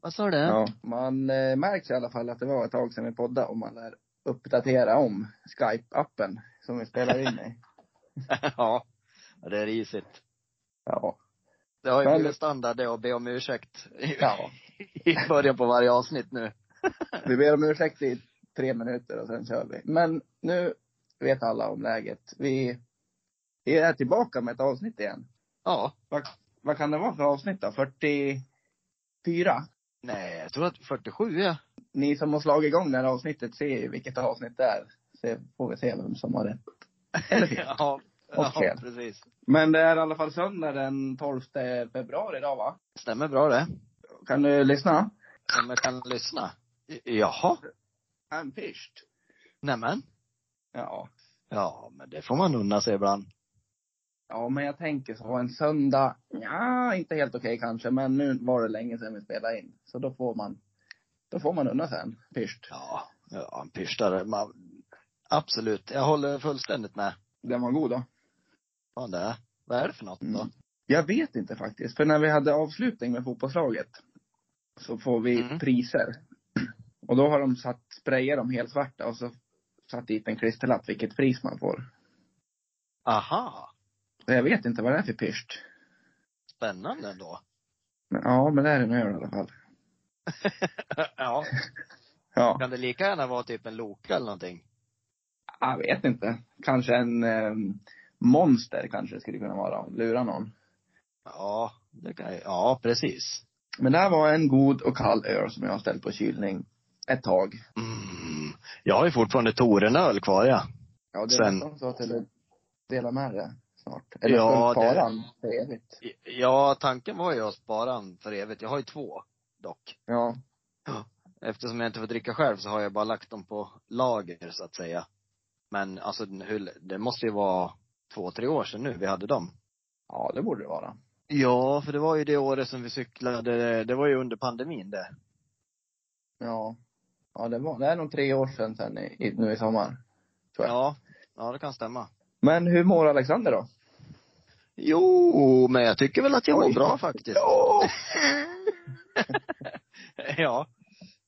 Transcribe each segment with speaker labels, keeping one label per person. Speaker 1: Vad sa du?
Speaker 2: Ja, man eh, märks i alla fall att det var ett tag sedan vi poddade och man lär uppdatera om Skype-appen som vi spelar in i.
Speaker 1: ja. Det är risigt.
Speaker 2: Ja.
Speaker 1: Det har ju
Speaker 2: Men-
Speaker 1: blivit standard det att be om ursäkt i-
Speaker 2: ja.
Speaker 1: i början på varje avsnitt nu.
Speaker 2: Vi ber om ursäkt i tre minuter och sen kör vi. Men nu vet alla om läget. Vi vi är tillbaka med ett avsnitt igen.
Speaker 1: Ja.
Speaker 2: Vad kan det vara för avsnitt då? 44?
Speaker 1: Nej, jag tror att 47 ja.
Speaker 2: Ni som har slagit igång det här avsnittet ser ju vilket avsnitt det är. Så får vi se vem som har rätt. Eller fel.
Speaker 1: ja.
Speaker 2: Och
Speaker 1: ja,
Speaker 2: fel.
Speaker 1: precis.
Speaker 2: Men det är i alla fall söndag den 12 februari idag va?
Speaker 1: Stämmer bra det.
Speaker 2: Kan du lyssna?
Speaker 1: Om jag kan lyssna. I- Jaha.
Speaker 2: I'm pissed.
Speaker 1: Nämen.
Speaker 2: Ja.
Speaker 1: Ja, men det får man unna sig ibland.
Speaker 2: Ja, men jag tänker så. En söndag, ja, inte helt okej kanske, men nu var det länge sedan vi spelade in. Så då får man, då får man unna sig en pyscht.
Speaker 1: Ja, ja en pyrstare. Man, absolut. Jag håller fullständigt med.
Speaker 2: Den var god då.
Speaker 1: Vad det är. Vad är det för något då?
Speaker 2: Mm. Jag vet inte faktiskt, för när vi hade avslutning med fotbollslaget så får vi
Speaker 1: Mm.
Speaker 2: priser. Och då har de satt, sprayar de helt svarta och så satt dit en klisterlapp vilket pris man får.
Speaker 1: Aha.
Speaker 2: Så jag vet inte vad det är för pyscht.
Speaker 1: Spännande ändå.
Speaker 2: Men, ja, men det är det nu i alla fall.
Speaker 1: ja.
Speaker 2: Ja,
Speaker 1: Kan det lika gärna vara typ en Loka eller någonting?
Speaker 2: jag vet inte. Kanske en eh, monster kanske det skulle kunna vara. Lura någon.
Speaker 1: Ja, det kan jag, Ja, precis.
Speaker 2: Men det här var en god och kall öl som jag har ställt på kylning ett tag.
Speaker 1: Mm. Jag har ju fortfarande Torenöl kvar ja.
Speaker 2: Ja, det är
Speaker 1: Sen-
Speaker 2: nästan så att jag vill dela med det snart. Eller
Speaker 1: Ja,
Speaker 2: ja,
Speaker 1: det-
Speaker 2: faran för evigt.
Speaker 1: Ja, tanken var ju att spara den för evigt. Jag har ju två dock.
Speaker 2: Ja.
Speaker 1: Eftersom jag inte får dricka själv så har jag bara lagt dem på lager så att säga. Men alltså, hur, det måste ju vara två, tre år sedan nu vi hade dem.
Speaker 2: Ja, det borde det vara.
Speaker 1: Ja, för det var ju det året som vi cyklade, det var ju under pandemin det.
Speaker 2: Ja. Ja, det var, det är nog tre år sedan sen i, i, nu i sommar. Tror jag.
Speaker 1: Ja, ja det kan stämma.
Speaker 2: Men hur mår Alexander då?
Speaker 1: Jo, men jag tycker väl att jag mår
Speaker 2: Oj.
Speaker 1: bra faktiskt.
Speaker 2: Ja!
Speaker 1: ja.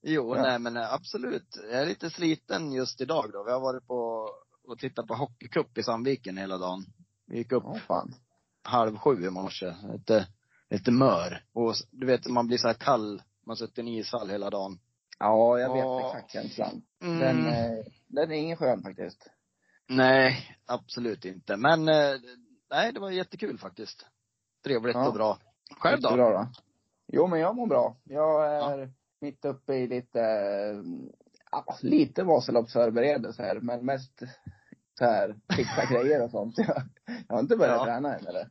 Speaker 1: Jo,
Speaker 2: Ja.
Speaker 1: nej men eh, absolut. Jag är lite sliten just idag då. Vi har varit på och tittat på hockeycup i Sandviken hela dagen. Vi gick upp
Speaker 2: Åh fan.
Speaker 1: halv sju i morse. Lite, lite mör. Och s- du vet, man blir så här kall. Man sitter i en ishall hela dagen.
Speaker 2: Ja, jag vet
Speaker 1: Ja.
Speaker 2: exakt känslan.
Speaker 1: Mm.
Speaker 2: Den, eh, den är ingen skön faktiskt.
Speaker 1: Nej, absolut inte. Men eh, nej, det var jättekul faktiskt. Trevligt
Speaker 2: Ja.
Speaker 1: och bra. Själv då?
Speaker 2: Bra då? Jo, men jag mår bra. Jag är mitt uppe i lite, eh, ja, lite Vasaloppsförberedelser, men mest så här, fixa grejer och sånt. Jag, jag har inte börjat
Speaker 1: Ja.
Speaker 2: träna än eller?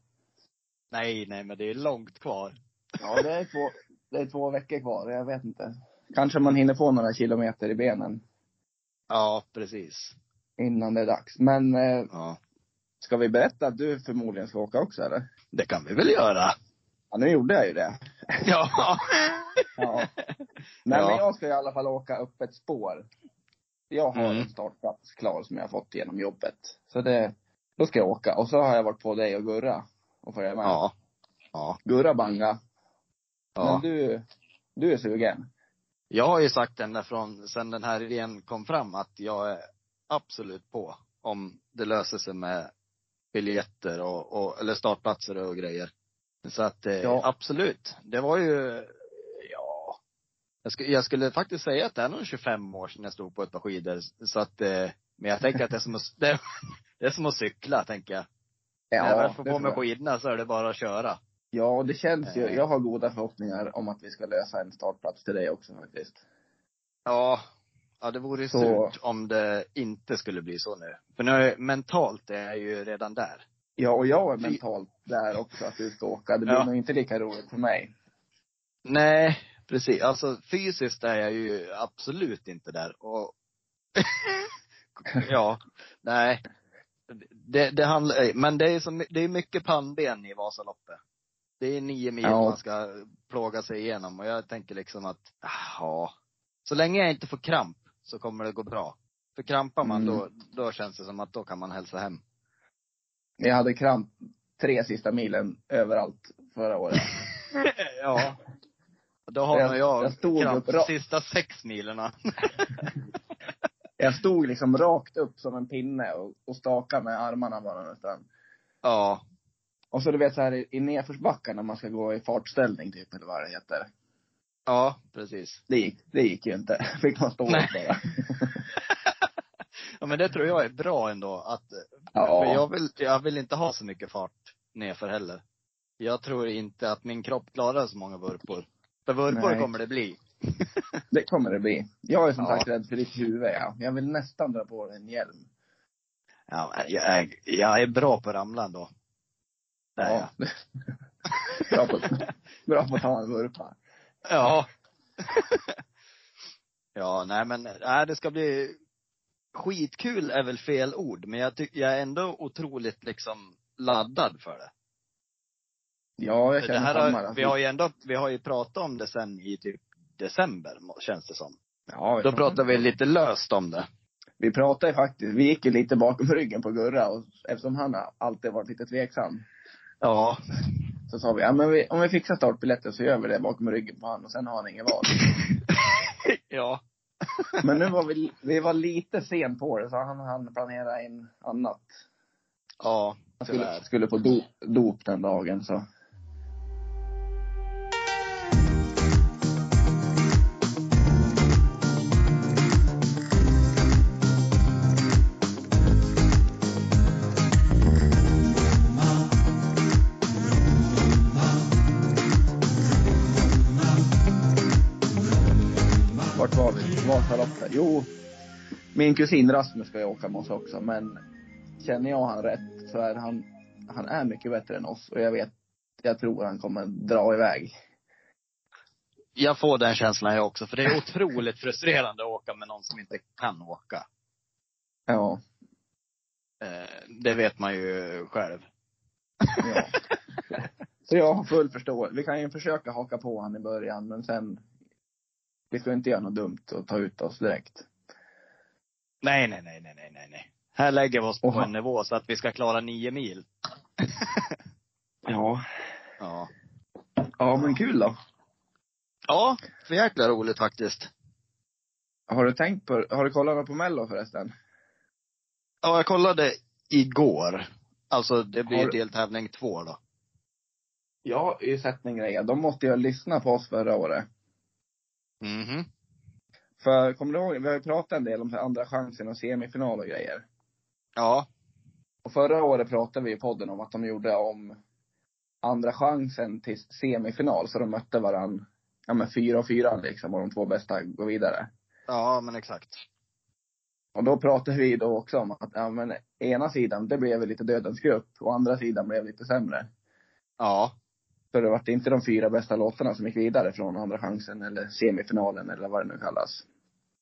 Speaker 1: Nej, nej, men det är långt kvar.
Speaker 2: Ja, det är, två, det är två veckor kvar. Jag vet inte. Kanske man hinner få några kilometer i benen
Speaker 1: Ja, precis.
Speaker 2: innan det är dags. Men eh,
Speaker 1: Ja.
Speaker 2: ska vi berätta att du förmodligen ska åka också eller?
Speaker 1: Det kan vi väl göra.
Speaker 2: Ja, nu gjorde jag ju det.
Speaker 1: Ja.
Speaker 2: Ja. Nej,
Speaker 1: Ja.
Speaker 2: men jag ska i alla fall åka upp ett spår. Jag har
Speaker 1: Mm.
Speaker 2: en startplats klar som jag har fått genom jobbet. Så det, då ska jag åka. Och så har jag varit på dig och Gurra och följa med.
Speaker 1: Ja. Ja.
Speaker 2: Gurra banga.
Speaker 1: ja.
Speaker 2: Men du, du är sugen.
Speaker 1: Jag har ju sagt ända från, sen den här idén kom fram, att jag är absolut på om det löser sig med biljetter och, och eller startplatser och grejer. Så att eh,
Speaker 2: Ja.
Speaker 1: absolut, det var ju, ja. Jag, sku, jag skulle faktiskt säga att det är nog 25 år sedan jag stod på ett par skidor. Så att, eh, men jag tänker att det är som att, det, är- det är som att cykla, tänker jag. När jag väl får
Speaker 2: det
Speaker 1: på
Speaker 2: tror
Speaker 1: mig
Speaker 2: jag.
Speaker 1: skidorna så är det bara att köra.
Speaker 2: Ja, och det känns ju.
Speaker 1: Eh.
Speaker 2: Jag har goda förhoppningar om att vi ska lösa en startplats till dig också faktiskt.
Speaker 1: Ja. Ja, det vore ju
Speaker 2: Så-
Speaker 1: surt om det inte skulle bli så nu. För nu, är- mentalt är jag ju redan där.
Speaker 2: Ja, och jag är
Speaker 1: Fy-
Speaker 2: mentalt där också att du ska åka. Det blir
Speaker 1: Ja.
Speaker 2: nog inte lika roligt för mig.
Speaker 1: Nej, precis. Alltså fysiskt är jag ju absolut inte där. Och ja, nej. Det, det handlar, men det är, så, my- det är mycket pannben i Vasaloppet. Det är nio mil
Speaker 2: Ja.
Speaker 1: man ska plåga sig igenom och jag tänker liksom att, ja. Så länge jag inte får kramp så kommer det gå bra. För krampar man
Speaker 2: Mm.
Speaker 1: då, då känns det som att då kan man hälsa hem.
Speaker 2: Jag hade kramp tre sista milen överallt förra året.
Speaker 1: ja. Då har
Speaker 2: Jag-
Speaker 1: nog jag,
Speaker 2: jag stod
Speaker 1: kramp
Speaker 2: upp ra-
Speaker 1: sista sex milerna.
Speaker 2: Jag stod liksom rakt upp som en pinne och, och stakade med armarna bara nästan.
Speaker 1: ja.
Speaker 2: Och så du vet så här i, i nedförsbackar när man ska gå i fartställning typ, eller vad det heter.
Speaker 1: Ja, precis.
Speaker 2: Det gick, det gick ju inte. Fick man stå upp
Speaker 1: Nej.
Speaker 2: bara.
Speaker 1: Ja, men det tror jag är bra ändå. Att,
Speaker 2: Ja.
Speaker 1: för jag, vill, jag vill inte ha så mycket fart nerför heller. Jag tror inte att min kropp klarar så många vurpor. För vurpor
Speaker 2: Nej.
Speaker 1: kommer det bli.
Speaker 2: Det kommer det bli. Jag är som
Speaker 1: Ja.
Speaker 2: sagt rädd för ditt huvud, ja. Jag vill nästan dra på dig en hjälm.
Speaker 1: Ja, men jag, är- jag är bra på att ramla ändå. Det är jag.
Speaker 2: Ja. bra, på, bra på att ta en vurpa.
Speaker 1: Ja. ja, nej men, nej, det ska bli skitkul är väl fel ord, men jag, tycker jag är ändå otroligt liksom laddad för det.
Speaker 2: Ja, jag
Speaker 1: För det
Speaker 2: känner
Speaker 1: här
Speaker 2: samma.
Speaker 1: har,
Speaker 2: alltså.
Speaker 1: vi har ju ändå, vi har ju pratat om det sen i typ december, må- känns det som.
Speaker 2: ja,
Speaker 1: Då pratade vi lite löst om det.
Speaker 2: Vi pratade ju faktiskt, vi gick ju lite bakom ryggen på Gurra och eftersom han har alltid varit lite tveksam
Speaker 1: Ja.
Speaker 2: så sa vi, ja men vi, om vi fixar startbiljetten så gör vi det bakom ryggen på han och sen har han ingen val.
Speaker 1: Ja.
Speaker 2: Men nu var vi, vi var lite sen på det så han han planera in annat.
Speaker 1: Ja,
Speaker 2: Han
Speaker 1: tyvärr.
Speaker 2: skulle, skulle på do, dop den dagen så. Vart var vi? Vasaloppet? Jo, min kusin Rasmus ska ju åka med oss också, men känner jag han rätt så är han, han är mycket bättre än oss och jag vet, jag tror han kommer dra iväg.
Speaker 1: Jag får den känslan jag också, för det är otroligt frustrerande att åka med någon som inte kan åka.
Speaker 2: Ja,
Speaker 1: Eh, det vet man ju själv.
Speaker 2: ja. Så jag har full förståelse. Vi kan ju försöka haka på han i början, men sen, vi ska inte göra något dumt och ta ut oss direkt.
Speaker 1: Nej, nej, nej, nej, nej, nej, nej. Här lägger vi oss på
Speaker 2: Oha.
Speaker 1: en nivå så att vi ska klara nio mil.
Speaker 2: Ja.
Speaker 1: Ja.
Speaker 2: Ja, men kul då.
Speaker 1: Ja, för jäkla roligt faktiskt.
Speaker 2: Har du tänkt på, har du kollat på Mello förresten?
Speaker 1: Ja, jag kollade igår. Alltså, det blir
Speaker 2: Har du-
Speaker 1: deltävling två då.
Speaker 2: Jag har ju sett en grej. De måste ju lyssna på oss förra året.
Speaker 1: Mhm.
Speaker 2: För kommer du ihåg, vi har ju pratat en del om så här andra chansen och semifinal och grejer.
Speaker 1: Ja.
Speaker 2: Och förra året pratade vi i podden om att de gjorde om andra chansen till semifinal, så de mötte varann, ja men fyra och fyra liksom, och de två bästa går vidare.
Speaker 1: Ja, men exakt.
Speaker 2: Och då pratade vi då också om att, ja men ena sidan, det blev lite dödens grupp, och andra sidan blev lite sämre.
Speaker 1: Ja.
Speaker 2: För det var inte de fyra bästa låtarna som gick vidare från andra chansen eller semifinalen eller vad det nu kallas.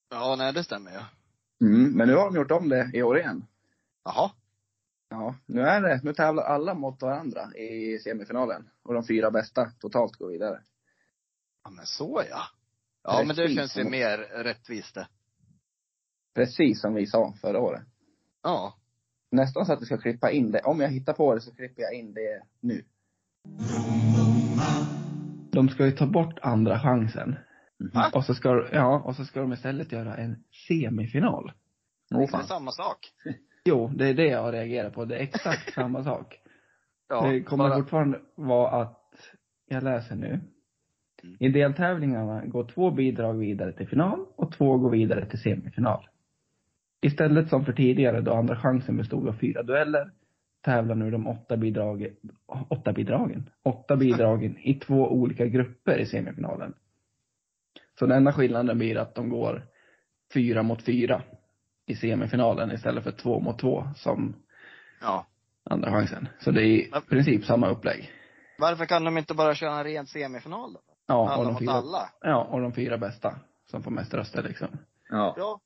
Speaker 1: Ja, nej, det stämmer ju.
Speaker 2: Mm, men nu har de gjort om det i år igen.
Speaker 1: Jaha.
Speaker 2: Ja, nu är det, nu tävlar alla mot varandra i semifinalen. Och de fyra bästa totalt går vidare.
Speaker 1: Ja, men så ja. Ja, men det
Speaker 2: Rättvist.
Speaker 1: känns ju mer rättvist det.
Speaker 2: Precis som vi sa förra året.
Speaker 1: Ja.
Speaker 2: Nästan så att vi ska klippa in det. Om jag hittar på det så klipper jag in det nu. De ska ju ta bort andra chansen.
Speaker 1: Va?
Speaker 2: Och så ska, ja, och så ska de istället göra en semifinal.
Speaker 1: Det är samma sak.
Speaker 2: Jo, det är det jag reagerar på. Det är exakt samma sak.
Speaker 1: Ja,
Speaker 2: det kommer
Speaker 1: bara-
Speaker 2: fortfarande vara att, jag läser nu.
Speaker 1: Mm.
Speaker 2: I deltävlingarna går två bidrag vidare till final och två går vidare till semifinal. Istället som för tidigare då andra chansen bestod av fyra dueller tävlar nu de åtta, bidrag, åtta bidragen, åtta bidragen i två olika grupper i semifinalen. Så den enda skillnaden blir att de går fyra mot fyra i semifinalen istället för två mot två som
Speaker 1: Ja.
Speaker 2: andra chansen. Så det är i
Speaker 1: Men-
Speaker 2: princip samma upplägg.
Speaker 1: Varför kan de inte bara köra en ren semifinal då?
Speaker 2: Ja, och
Speaker 1: Alla
Speaker 2: de
Speaker 1: mot
Speaker 2: fyra,
Speaker 1: alla.
Speaker 2: ja, och de fyra bästa som får mest röster liksom. Ja.
Speaker 1: Ja.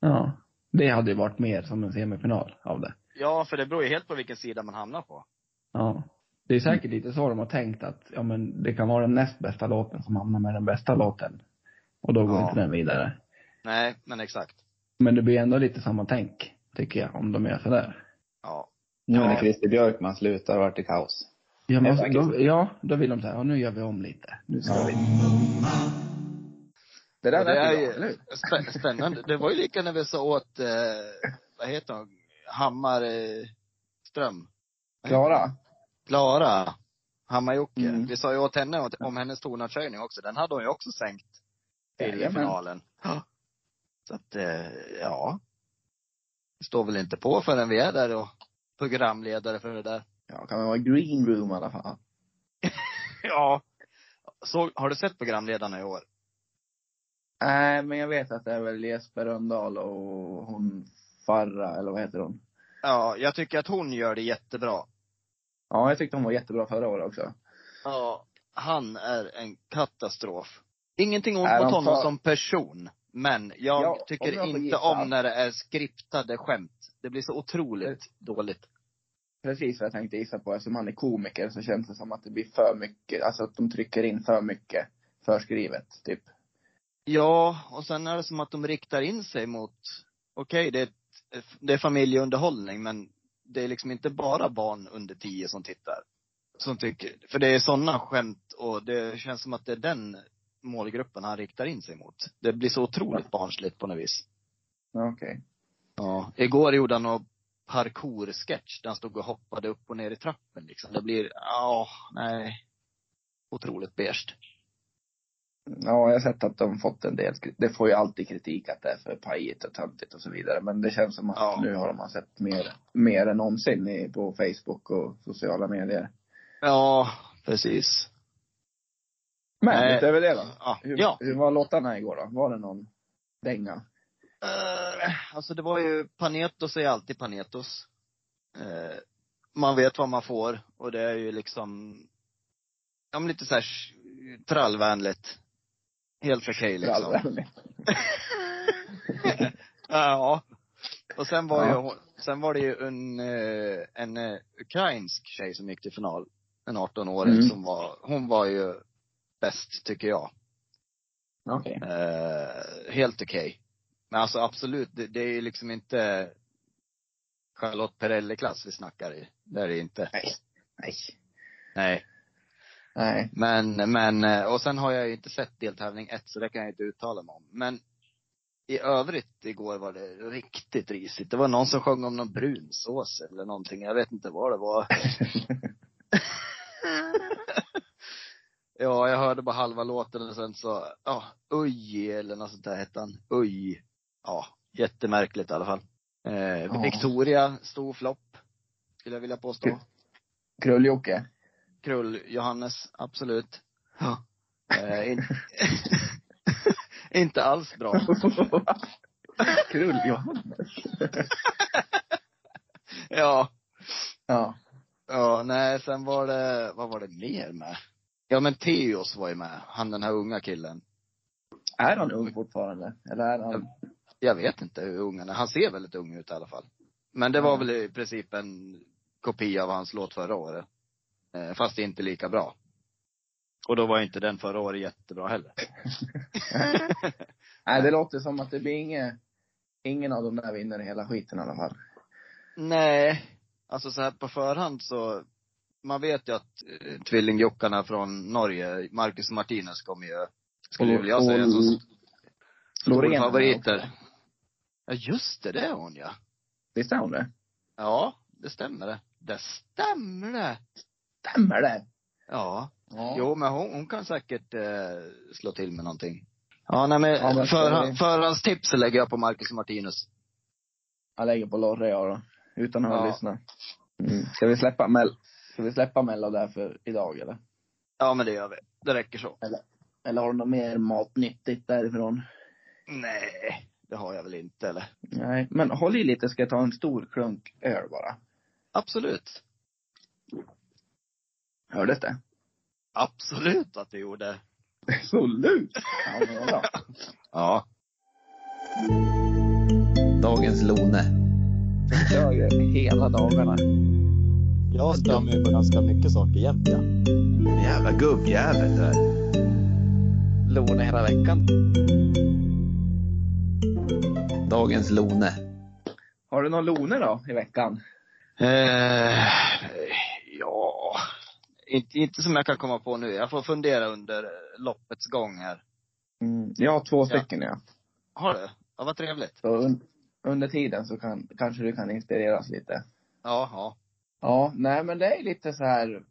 Speaker 2: Ja. Det hade ju varit mer som en semifinal av det.
Speaker 1: Ja, för det beror ju helt på vilken sida man hamnar på.
Speaker 2: Ja. Det är säkert lite så de har tänkt att, ja men det kan vara den näst bästa låten som hamnar med den bästa låten. Och då går
Speaker 1: Ja.
Speaker 2: inte den vidare.
Speaker 1: Nej, men exakt.
Speaker 2: Men det blir ändå lite samma tänk, tycker jag, om de gör sådär.
Speaker 1: Ja.
Speaker 3: Nu
Speaker 1: Ja.
Speaker 3: när Christer Björkman slutar vart det kaos. Ja, men
Speaker 2: Faktiskt.
Speaker 3: då, ja, då vill de så här, ja, nu gör vi om lite. Nu ska
Speaker 2: Ja.
Speaker 3: vi.
Speaker 2: Det där
Speaker 1: Ja, det
Speaker 2: lät
Speaker 1: är
Speaker 2: ju bra,
Speaker 1: ju-
Speaker 2: eller hur?
Speaker 1: Spä- Spännande. Det var ju lika när vi sa åt, eh, vad heter hon, eh, Hammarström?
Speaker 2: Klara?
Speaker 1: Klara Hammarjocke.
Speaker 2: Mm.
Speaker 1: Vi sa ju åt henne om- om hennes tonartshöjning också. Den hade hon ju också sänkt till
Speaker 2: Jajamän.
Speaker 1: finalen. Ja. Så att, eh, ja. Det står väl inte på förrän vi är där och programledare för det där.
Speaker 2: Ja, kan man vara green room i alla fall?
Speaker 1: Ja. Så, har du sett programledarna i år?
Speaker 2: Nej, men jag vet att det är väl Jesper Rönndahl och hon Farra, eller vad heter hon?
Speaker 1: Ja, jag tycker att hon gör det jättebra.
Speaker 2: Ja, jag tyckte hon var jättebra förra året också.
Speaker 1: Ja, han är en katastrof. Ingenting ont
Speaker 2: Är
Speaker 1: mot
Speaker 2: han
Speaker 1: honom
Speaker 2: för-
Speaker 1: som person, men jag
Speaker 2: Ja,
Speaker 1: tycker
Speaker 2: om jag får
Speaker 1: inte
Speaker 2: gissa.
Speaker 1: om när det är skriptade skämt. Det blir så otroligt
Speaker 2: Eh.
Speaker 1: dåligt.
Speaker 2: Precis vad jag tänkte gissa på. Eftersom han är komiker så känns det som att det blir för mycket, alltså att de trycker in för mycket förskrivet, typ.
Speaker 1: Ja, och sen är det som att de riktar in sig mot, okej det, är ett- det är familjeunderhållning, men det är liksom inte bara barn under tio som tittar. Som tycker, för det är sådana skämt och det känns som att det är den målgruppen han riktar in sig mot. Det blir så otroligt barnsligt på något vis.
Speaker 2: Ja, Okej.
Speaker 1: Ja. Igår gjorde han någon parkour-sketch där han stod och hoppade upp och ner i trappen liksom. Det blir, ja, nej. Otroligt beige.
Speaker 2: Ja, jag har sett att de fått en del skri- Det får ju alltid kritik att det är för pajigt och töntigt och så vidare. Men det känns som att
Speaker 1: Ja.
Speaker 2: nu har man sett mer, mer än någonsin i, på Facebook och sociala medier.
Speaker 1: Ja, precis.
Speaker 2: Men
Speaker 1: Nej.
Speaker 2: utöver det då?
Speaker 1: Ja.
Speaker 2: Hur,
Speaker 1: ja.
Speaker 2: hur var låtarna igår då? Var det någon dänga?
Speaker 1: Eh, alltså det var ju, Panetos är alltid Panetos. Eh, man vet vad man får och det är ju liksom, ja men lite såhär trallvänligt. Helt okej liksom.
Speaker 2: Allvarligt.
Speaker 1: Ja. Och sen var,
Speaker 2: Ja.
Speaker 1: ju, hon- sen var det ju en, eh, en eh, ukrainsk tjej som gick till final. En 18-åring
Speaker 2: Mm.
Speaker 1: som var, hon var ju bäst tycker jag.
Speaker 2: Okej.
Speaker 1: Eh, helt okej. Men alltså absolut, det, det är ju liksom inte Charlotte Perrelli-klass vi snackar i. Det är det inte.
Speaker 2: Nej. Nej.
Speaker 1: Nej.
Speaker 2: Nej.
Speaker 1: Men, men, eh, och sen har jag ju inte sett deltävling ett så det kan jag inte uttala mig om. Men i övrigt igår var det riktigt risigt. Det var någon som sjöng om någon brunsås eller någonting. Jag vet inte vad det var. ja, jag hörde bara halva låten och sen så, ja, Uj eller något sånt där hette han. Uj. Ja, jättemärkligt i alla fall. Eh,
Speaker 2: Ja.
Speaker 1: Victoria, stor flopp. Skulle jag vilja påstå.
Speaker 2: Kul. Krull-Jocke?
Speaker 1: Krull-Johannes, absolut. Eh, in... inte alls bra.
Speaker 2: Krull-Johannes?
Speaker 1: Ja.
Speaker 2: Ja.
Speaker 1: Ja, nej, sen var det, vad var det mer med? Ja men Teos var ju med, han den här unga killen.
Speaker 2: Är han ung fortfarande? Eller är han...
Speaker 1: Jag vet inte hur ung han är, han ser väldigt ung ut i alla fall. Men det var
Speaker 2: Mm.
Speaker 1: väl i princip en kopia av hans låt förra året. Eh, fast inte lika bra. Och då var ju inte den förra året jättebra heller.
Speaker 2: Nej, det låter som att det blir inget, ingen av dem där vinner hela skiten i alla fall.
Speaker 1: Nej. Alltså så här på förhand så, man vet ju att eh, tvillingjockarna från Norge, Marcus och Martinez kommer ju, skulle
Speaker 2: Och-
Speaker 1: väl jag säga, som
Speaker 2: och-
Speaker 1: stora
Speaker 2: Loreen.
Speaker 1: favoriter. Ja just det, det är hon ja.
Speaker 2: Visst är hon det?
Speaker 1: Ja, det stämmer det. Det stämmer det.
Speaker 2: Stämmer det?
Speaker 1: Ja.
Speaker 2: Ja.
Speaker 1: Jo men hon, hon kan säkert eh, slå till med någonting. Ja nej men,
Speaker 2: Ja, men ska
Speaker 1: förhand-
Speaker 2: vi-
Speaker 1: förhandstips lägger jag på Marcus och Martinez.
Speaker 2: Jag lägger på Lorre jag då. Utan att
Speaker 1: Ja.
Speaker 2: ha lyssnat. Mm. Ska vi släppa Mel... Ska vi släppa Mello där för idag eller?
Speaker 1: Ja men det gör vi. Det räcker så.
Speaker 2: Eller har du något mer matnyttigt därifrån?
Speaker 1: Nej, det har jag väl inte eller?
Speaker 2: Nej, men håll i lite ska jag ta en stor klunk öl bara.
Speaker 1: Absolut.
Speaker 2: Hördes det?
Speaker 1: Absolut att det gjorde.
Speaker 2: Absolut! Ja, men vad bra.
Speaker 1: Ja.
Speaker 4: Dagens Lone.
Speaker 2: Jag kör ju hela dagarna.
Speaker 5: Jag stör mig på ganska mycket saker jämt ja.
Speaker 4: Jävla gubbjävel där.
Speaker 2: Lån hela veckan.
Speaker 4: Dagens Lone.
Speaker 2: Har du någon Lone då i veckan?
Speaker 1: Eh, ja. Inte, inte som jag kan komma på nu. Jag får fundera under eh, loppets gång här.
Speaker 2: Mm, jag har två stycken ja.
Speaker 1: Har du? Ja, vad trevligt.
Speaker 2: Så un, under tiden så kan, kanske du kan inspireras lite.
Speaker 1: Ja, ja.
Speaker 2: Ja, nej men det är lite så här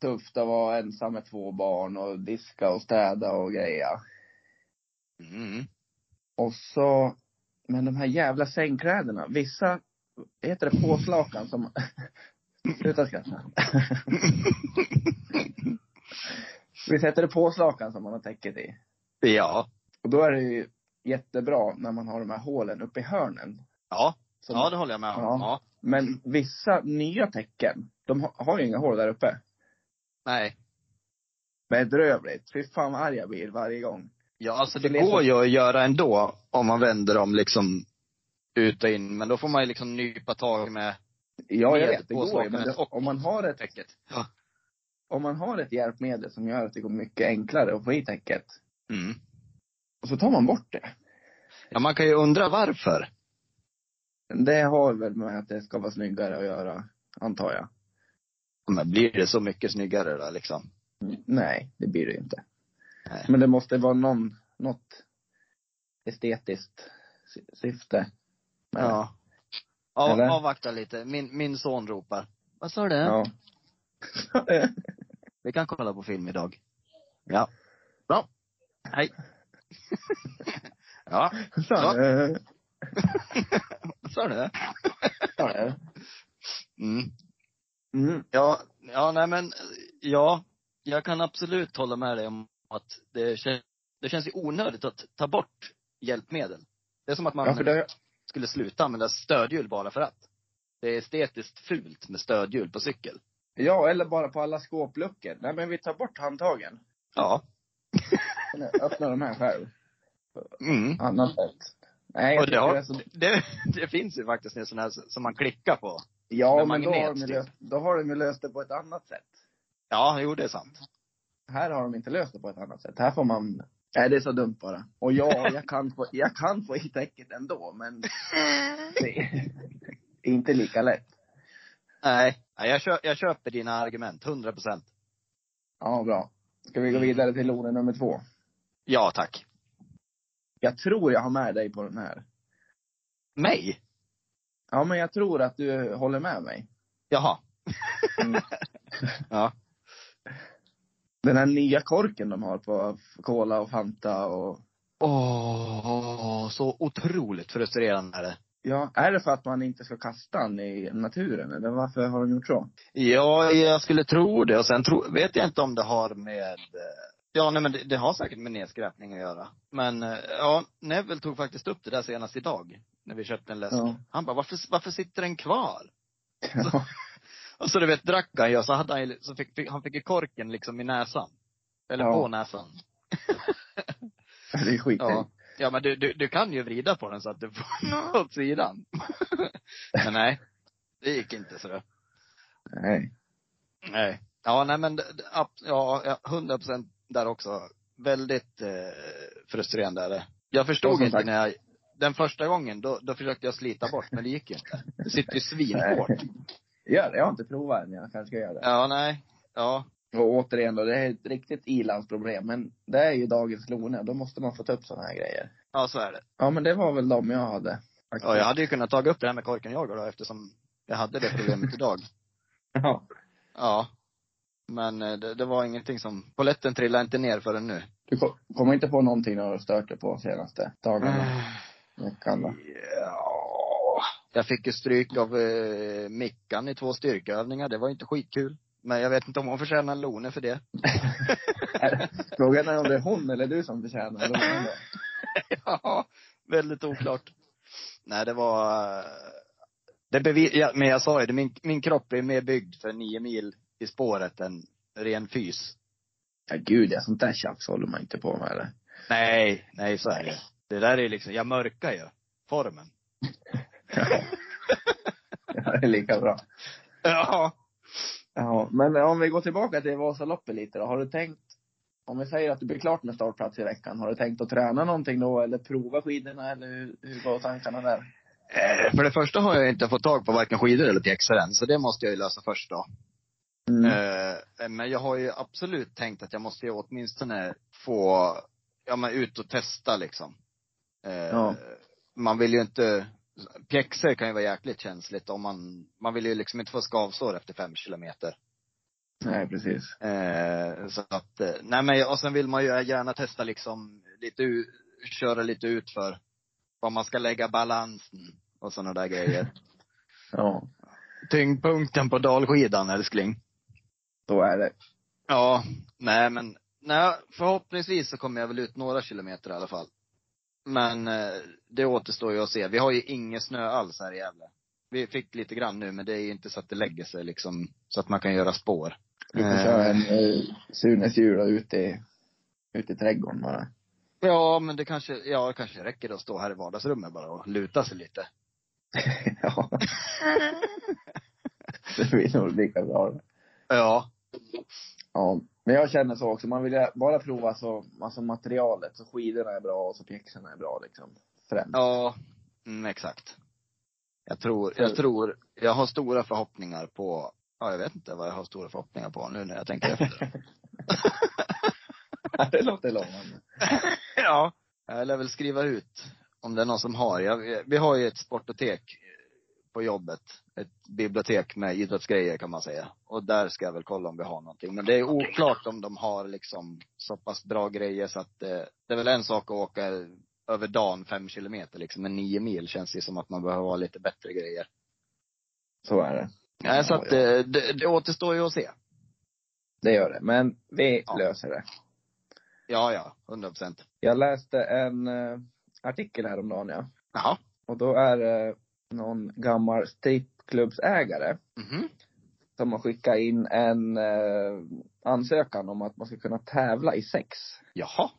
Speaker 2: tufft att vara ensam med två barn och diska och städa och greja.
Speaker 1: Mm.
Speaker 2: Och så, men de här jävla sängkläderna, vissa, heter det påslakan som, sluta skratta. Visst heter det påslakan som man har täcket i?
Speaker 1: Ja.
Speaker 2: Och då är det ju jättebra när man har de här hålen uppe i hörnen.
Speaker 1: Ja.
Speaker 2: Som,
Speaker 1: Ja, det håller jag med om.
Speaker 2: Ja.
Speaker 1: Ja.
Speaker 2: Men vissa nya tecken, de ha- har ju inga hål där uppe.
Speaker 1: Nej.
Speaker 2: Bedrövligt. Fy fan vad arg jag blir varje gång.
Speaker 1: Ja, alltså det
Speaker 2: Det är så-
Speaker 1: går ju att göra ändå om man vänder dem liksom ut och in. Men då får man ju liksom nypa tag med
Speaker 2: Ja, jag
Speaker 1: Med
Speaker 2: vet. Det går ju, men det,
Speaker 1: påslakan och-
Speaker 2: om, man har ett,
Speaker 1: täcket. Ja.
Speaker 2: om man har ett hjälpmedel som gör att det går mycket enklare att få i täcket,
Speaker 1: Mm.
Speaker 2: och så tar man bort det.
Speaker 1: Ja, man kan ju undra varför.
Speaker 2: Det har väl med att det ska vara snyggare att göra, antar jag.
Speaker 1: Men blir det så mycket snyggare då liksom?
Speaker 2: Nej, det blir det ju inte.
Speaker 1: Nej.
Speaker 2: Men det måste vara någon, något estetiskt sy- syfte. med det.
Speaker 1: Ja. Av,
Speaker 2: Eller?
Speaker 1: avvakta lite. Min, min son ropar. Vad sa du?
Speaker 2: ja.
Speaker 1: Vi kan kolla på film idag. Ja. Bra. Hej. ja.
Speaker 2: Så, eh,
Speaker 1: Vad sa du?
Speaker 2: så är det.
Speaker 1: Mm.
Speaker 2: Mm.
Speaker 1: Ja, ja, nej men, ja. Jag kan absolut hålla med dig om att det, kän, det känns ju onödigt att ta bort hjälpmedel. Det är som att man
Speaker 2: Ja, för det,
Speaker 1: skulle sluta använda stödhjul bara för att. Det är estetiskt fult med stödhjul på cykel.
Speaker 2: ja, eller bara på alla skåpluckor. Nej, men vi tar bort handtagen.
Speaker 1: Ja.
Speaker 2: Öppna de här själv.
Speaker 1: Mm.
Speaker 2: Annat sätt. Nej, jag
Speaker 1: Och det,
Speaker 2: tycker det är
Speaker 1: har,
Speaker 2: så
Speaker 1: det, det finns ju faktiskt en sån här som man klickar på.
Speaker 2: Ja,
Speaker 1: Med
Speaker 2: men då
Speaker 1: magnet,
Speaker 2: har, de ju
Speaker 1: typ.
Speaker 2: löst, då har de ju löst det på ett annat sätt.
Speaker 1: Ja, jo det är sant.
Speaker 2: Här har de inte löst det på ett annat sätt. Här får man... Nej, det är så dumt bara. Och ja, jag kan få, jag kan få i täcket ändå, men det är inte lika lätt.
Speaker 1: Nej, nej, jag, kö, jag köper dina argument. 100 procent.
Speaker 2: Ja, bra. Ska vi gå vidare till orden nummer två?
Speaker 1: Ja, tack.
Speaker 2: Jag tror jag har med dig på den här.
Speaker 1: Mig?
Speaker 2: Ja, men jag tror att du håller med mig.
Speaker 1: Jaha. ja.
Speaker 2: Den här nya korken de har på Cola och Fanta och...
Speaker 1: Åh, så otroligt frustrerande är det.
Speaker 2: Ja, är det för att man inte ska kasta den i naturen eller varför har de gjort så?
Speaker 1: Ja, jag skulle tro det. Och sen tro, vet jag inte om det har med... eh, Ja, nej men det, det har säkert med nedskräpning att göra. Men eh, ja, Neville tog faktiskt upp det där senast idag. När vi köpte en läsk.
Speaker 2: Ja.
Speaker 1: Han bara, varför, varför sitter den kvar? Och så du vet, drack han ju, så hade han ju, så fick, fick, han fick ju korken liksom i näsan. Eller
Speaker 2: Ja.
Speaker 1: på näsan.
Speaker 2: Det är skit.
Speaker 1: Ja. Ja men du, du, du kan ju vrida på den så att du får åt sidan. men nej, det gick inte så det.
Speaker 2: Nej.
Speaker 1: Nej. Ja nej men, det- det- ab- ja, hundra procent där också. Väldigt eh, frustrerande är det. Jag
Speaker 2: Ja,
Speaker 1: förstod
Speaker 2: som
Speaker 1: inte
Speaker 2: sagt.
Speaker 1: när jag, den första gången, då, då försökte jag slita bort, men det gick ju inte. Det sitter ju svinhårt.
Speaker 2: Gör det. Jag har inte provat än. Jag kanske ska göra det.
Speaker 1: Ja, nej. Ja.
Speaker 2: Och återigen då, det är ett riktigt ilandsproblem. Men det är ju dagens Lone. Då måste man få ta upp sådana här grejer.
Speaker 1: Ja, så är det.
Speaker 2: Ja, men det var väl de jag hade. faktiskt.
Speaker 1: Ja, jag hade ju kunnat ta upp det här med korken jag då, eftersom jag hade det problemet idag.
Speaker 2: Ja.
Speaker 1: Ja. Men eh, det, det var ingenting som, polletten trillade inte ner förrän nu.
Speaker 2: Du ko- kommer inte på någonting du har stört dig på senaste dagarna? Veckan då?
Speaker 1: Ja. Jag fick ju stryk av eh, Mickan i två styrkeövningar. Det var ju inte skitkul. Men jag vet inte om hon förtjänar en Lone för det.
Speaker 2: Frågan är om det är hon eller du som förtjänar Lone. då.
Speaker 1: ja, väldigt oklart. Nej, det var... eh, Det bevi- ja, men jag sa ju det, min, min kropp är mer byggd för nio mil i spåret än ren fys.
Speaker 2: Ja, gud ja. Sånt där tjafs håller man inte på med. Eller?
Speaker 1: Nej, nej så är det Det där är ju liksom, jag mörkar ju formen.
Speaker 2: Ja, det är lika bra.
Speaker 1: Ja.
Speaker 2: Ja, men om vi går tillbaka till Vasaloppet lite då. Har du tänkt, om vi säger att du blir klart med startplats i veckan, har du tänkt att träna någonting då eller prova skidorna eller hur, hur går tankarna där?
Speaker 1: Eh, För det första har jag inte fått tag på varken skidor eller pjäxor än, så det måste jag ju lösa först då.
Speaker 2: Mm.
Speaker 1: Eh, men jag har ju absolut tänkt att jag måste ju åtminstone få, ja men ut och testa liksom. Eh,
Speaker 2: Ja.
Speaker 1: Man vill ju inte, pjäxor kan ju vara jäkligt känsligt om man, man vill ju liksom inte få skavsår efter fem kilometer.
Speaker 2: Nej, precis.
Speaker 1: Eh, så att, eh, nej men och sen vill man ju gärna testa liksom lite, u- köra lite ut för var man ska lägga balansen och sådana där grejer.
Speaker 2: Ja,
Speaker 1: Tyngdpunkten på dalskidan älskling.
Speaker 2: då är det.
Speaker 1: Ja, nej men, nej, förhoppningsvis så kommer jag väl ut några kilometer i alla fall. Men eh, det återstår ju att se. Vi har ju ingen snö alls här i Gävle. Vi fick lite grann nu, men det är ju inte så att det lägger sig liksom, så att man kan göra spår.
Speaker 2: Du får
Speaker 1: Eh,
Speaker 2: köra en eh, Sunes jula ute i, ute i trädgården bara.
Speaker 1: Ja, men det kanske, ja, det kanske räcker att stå här i vardagsrummet bara och luta sig lite.
Speaker 2: ja. Det blir nog lika bra.
Speaker 1: Ja.
Speaker 2: Ja. Men jag känner så också. Man vill ju bara prova så, alltså materialet. Så skidorna är bra och så pjäxorna är bra liksom. Främst.
Speaker 1: Ja, mm, exakt. Jag tror, jag tror, jag har stora förhoppningar på, ja jag vet inte vad jag har stora förhoppningar på nu när jag tänker efter.
Speaker 2: det låter lovande.
Speaker 1: ja. Jag lär väl skriva ut om det är någon som har. Jag, vi har ju ett sportotek på jobbet. Ett bibliotek med idrottsgrejer kan man säga. Och där ska jag väl kolla om vi har någonting. Men det är oklart om de har liksom så pass bra grejer så att eh, det är väl en sak att åka över dagen fem kilometer liksom. Men nio mil känns det som att man behöver ha lite bättre grejer.
Speaker 2: Så är det.
Speaker 1: Nej, så att eh, det, det återstår ju att se.
Speaker 2: Det gör det. Men vi
Speaker 1: Ja.
Speaker 2: löser det.
Speaker 1: Ja, ja. Hundra procent.
Speaker 2: Jag läste en eh, artikel häromdagen ja.
Speaker 1: Jaha.
Speaker 2: Och då är det någon gammal strippklubbsägare
Speaker 1: Mhm.
Speaker 2: som har skickat in en eh, ansökan om att man ska kunna tävla i sex.
Speaker 1: Jaha.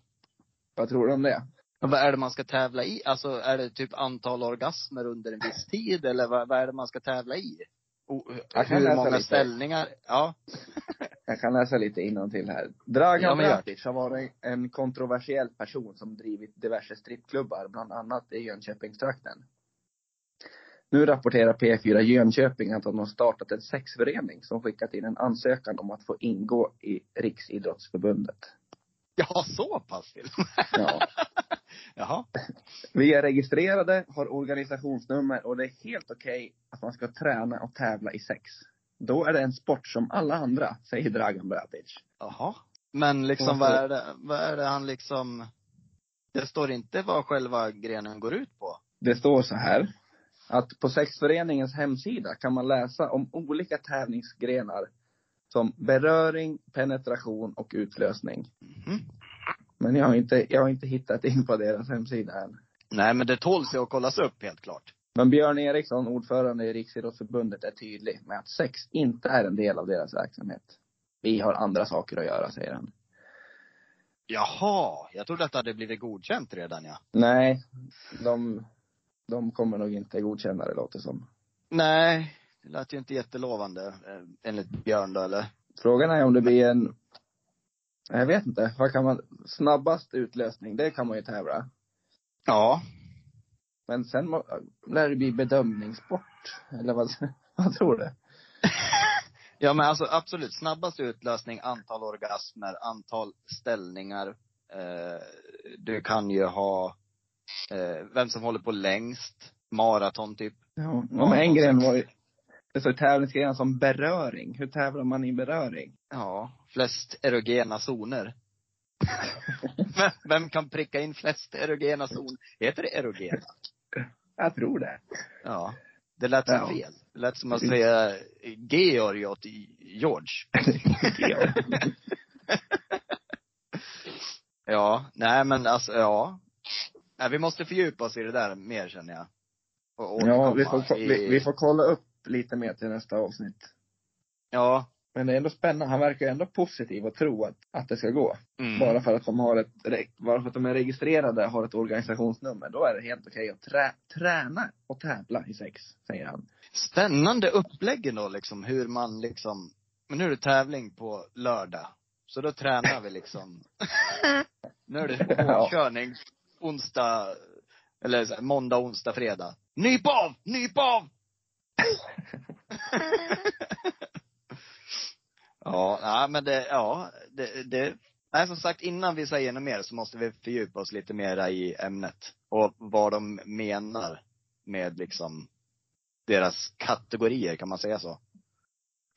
Speaker 2: Vad tror du om det?
Speaker 1: Men Vad är det man ska tävla i? Alltså är det typ antal orgasmer under en viss tid eller vad, vad är det man ska tävla i? Och,
Speaker 2: Jag kan
Speaker 1: hur
Speaker 2: läsa
Speaker 1: många
Speaker 2: lite.
Speaker 1: ställningar? Ja.
Speaker 2: Jag kan läsa lite innantill här. Dragan
Speaker 1: Ja, men gör
Speaker 2: Bratic har varit en kontroversiell person som drivit diverse strippklubbar, bland annat i Jönköpingstrakten. Nu rapporterar P4 Jönköping att de har startat en sexförening som skickat in en ansökan om att få ingå i Riksidrottsförbundet.
Speaker 1: Ja, så pass till.
Speaker 2: Ja.
Speaker 1: Jaha.
Speaker 2: Vi är registrerade, har organisationsnummer och det är helt okej att man ska träna och tävla i sex. Då är det en sport som alla andra, säger Dragan Bratic.
Speaker 1: Jaha. Men liksom vad är det, vad är det han liksom det står inte vad själva grenen går ut på.
Speaker 2: Det står så här. Att på sexföreningens hemsida kan man läsa om olika tävlingsgrenar som beröring, penetration och utlösning.
Speaker 1: Mhm.
Speaker 2: Men jag har inte, jag har inte hittat in på deras hemsida än.
Speaker 1: Nej, men det tål sig att kollas upp helt klart.
Speaker 2: Men Björn Eriksson, ordförande i Riksidrottsförbundet, är tydlig med att sex inte är en del av deras verksamhet. Vi har andra saker att göra, säger han.
Speaker 1: Jaha. Jag trodde att det hade blivit godkänt redan ja.
Speaker 2: Nej, de, de kommer nog inte godkänna det, låter som.
Speaker 1: Nej. Det lät ju inte jättelovande eh, enligt Björn då eller?
Speaker 2: Frågan är om det blir en, jag vet inte, vad kan man, snabbast utlösning, det kan man ju tävla.
Speaker 1: Ja.
Speaker 2: Men sen må, lär det bli bedömningssport, eller vad, vad tror du?
Speaker 1: Ja men alltså absolut, snabbast utlösning, antal orgasmer, antal ställningar. Eh, du kan ju ha eh, vem som håller på längst, maraton typ.
Speaker 2: Ja, men en gren var ju, det står tävlingsgrenar som beröring, hur tävlar man i beröring?
Speaker 1: Ja, flest erogena zoner. vem, vem kan pricka in flest erogena zoner? Heter det erogena?
Speaker 2: Jag tror det.
Speaker 1: Ja. Det lät som
Speaker 2: Ja.
Speaker 1: fel. Det lät som att säga Georg åt George. Ja, nej men alltså, ja. Nej, vi måste fördjupa oss i det där mer känner jag. Och
Speaker 2: ja,
Speaker 1: återkomma
Speaker 2: vi får,
Speaker 1: i-
Speaker 2: vi, vi får kolla upp lite mer till nästa avsnitt.
Speaker 1: Ja.
Speaker 2: Men det är ändå spännande, han verkar ju ändå positiv och tro att, att det ska gå.
Speaker 1: Mm.
Speaker 2: Bara för att de har ett, re- bara för att de är registrerade har ett organisationsnummer, då är det helt okej att trä, träna och tävla i sex, säger han.
Speaker 1: Spännande upplägg då liksom, hur man liksom, men nu är det tävling på lördag. Så då tränar vi liksom. nu är det
Speaker 2: Ja.
Speaker 1: hårdkörning onsdag, eller så här, måndag, onsdag, fredag. Nyp av! Nyp av! Ja, nej, men det, ja, det, det, nej som sagt innan vi säger något mer så måste vi fördjupa oss lite mera i ämnet. Och vad de menar med liksom deras kategorier, kan man säga så?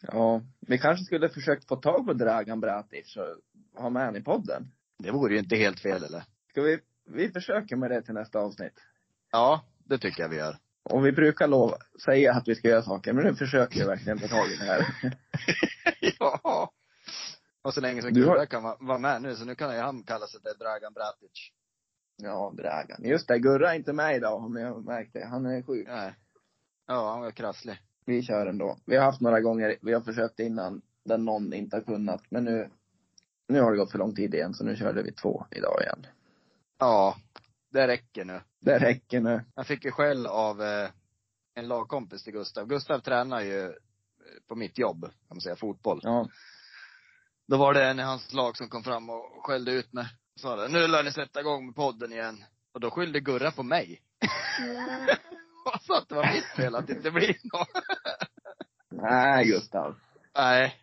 Speaker 2: Ja, vi kanske skulle försökt få tag på Dragan Bratic och ha med han i podden.
Speaker 1: Det vore ju inte helt fel eller?
Speaker 2: Ska vi, vi försöker med det till nästa avsnitt.
Speaker 1: Ja, det tycker jag vi gör.
Speaker 2: Och vi brukar lova, säga att vi ska göra saker, men nu försöker jag verkligen få tag i det här.
Speaker 1: ja. Och så länge som
Speaker 2: Du har-
Speaker 1: Gurra kan va- vara med nu, så nu kan ju han kalla sig för Dragan Bratic.
Speaker 2: Ja, Dragan. Just det, Gurra är inte med idag, men jag märkte det. Han är sjuk.
Speaker 1: Nej. Ja, han var krasslig.
Speaker 2: Vi kör ändå. Vi har haft några gånger, vi har försökt innan, där någon inte har kunnat. Men nu, nu har det gått för lång tid igen, så nu körde vi två idag igen.
Speaker 1: Ja, det räcker nu.
Speaker 2: Det räcker nu.
Speaker 1: Jag fick ju skäll av eh, en lagkompis till Gustav. Gustav tränar ju eh, på mitt jobb, kan man säga, fotboll.
Speaker 2: Ja.
Speaker 1: Då var det en i hans lag som kom fram och skällde ut mig. Sa det, nu lär ni sätta igång med podden igen. Och då skyllde Gurra på mig. Och sa att det var mitt fel att det inte blir något.
Speaker 2: Nej, Gustav.
Speaker 1: Nej.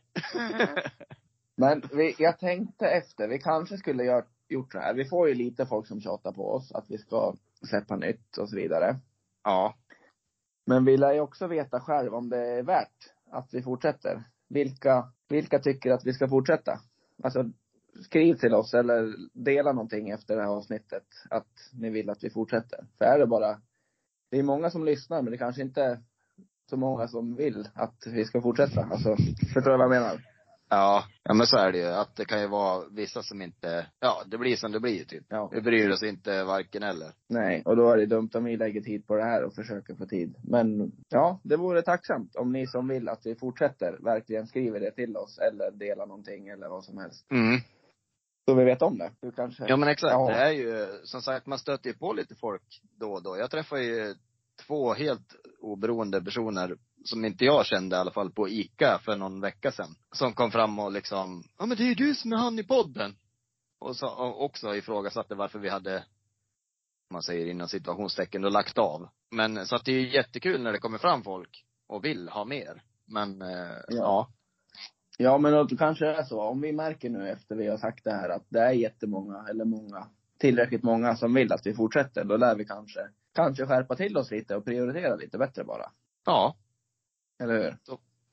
Speaker 2: Men vi, jag tänkte efter, vi kanske skulle gjort, gjort så här. Vi får ju lite folk som tjatar på oss att vi ska släppa nytt och så vidare.
Speaker 1: Ja.
Speaker 2: Men vi lär ju också veta själv om det är värt att vi fortsätter. Vilka, vilka tycker att vi ska fortsätta? Alltså, skriv till oss eller dela någonting efter det här avsnittet att ni vill att vi fortsätter. För är det bara, det är många som lyssnar men det kanske inte är så många som vill att vi ska fortsätta. Alltså, förstår du vad jag menar?
Speaker 1: Ja, ja men så är det ju. Att det kan ju vara vissa som inte, ja det blir som det blir typ.
Speaker 2: Ja.
Speaker 1: Vi bryr oss inte varken eller.
Speaker 2: Nej, och då är det dumt om vi lägger tid på det här och försöker få tid. Men ja, det vore tacksamt om ni som vill att vi fortsätter verkligen skriver det till oss eller delar någonting eller vad som helst.
Speaker 1: Mm.
Speaker 2: Så vi vet om det. Du kanske?
Speaker 1: Ja men exakt.
Speaker 2: Ja.
Speaker 1: Det är ju, som sagt man stöter ju på lite folk då och då. Jag träffar ju två helt oberoende personer, som inte jag kände i alla fall, på ICA för någon vecka sedan. Som kom fram och liksom, ja men det är ju du som är han i podden. Och, så, och också ifrågasatte varför vi hade, om man säger inom situationstecken, då lagt av. Men så att det är ju jättekul när det kommer fram folk och vill ha mer. Men eh, ja.
Speaker 2: Ja, men då kanske det är så. Om vi märker nu efter vi har sagt det här att det är jättemånga, eller många, tillräckligt många som vill att vi fortsätter, då lär vi kanske, kanske skärpa till oss lite och prioritera lite bättre bara.
Speaker 1: Ja,
Speaker 2: Eller hur?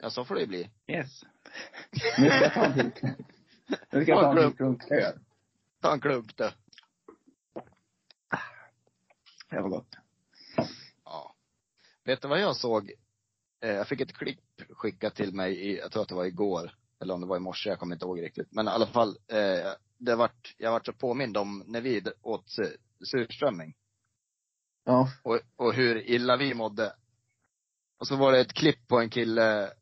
Speaker 1: ja så får det ju bli.
Speaker 2: Yes. Nu ska jag ta en till. Nu ska jag ta en till klunk öl.
Speaker 1: Ta en klunk du.
Speaker 2: Det var gott.
Speaker 1: Ja. Vet du vad jag såg? Eh, Jag fick ett klipp skickat till mig, i, jag tror att det var igår, eller om det var i morse, jag kommer inte ihåg riktigt. Men i alla fall, eh, det vart, jag vart så påmind om när vi åt su- surströmming.
Speaker 2: Ja.
Speaker 1: Och, och hur illa vi mådde. Och så var det ett klipp på en kille,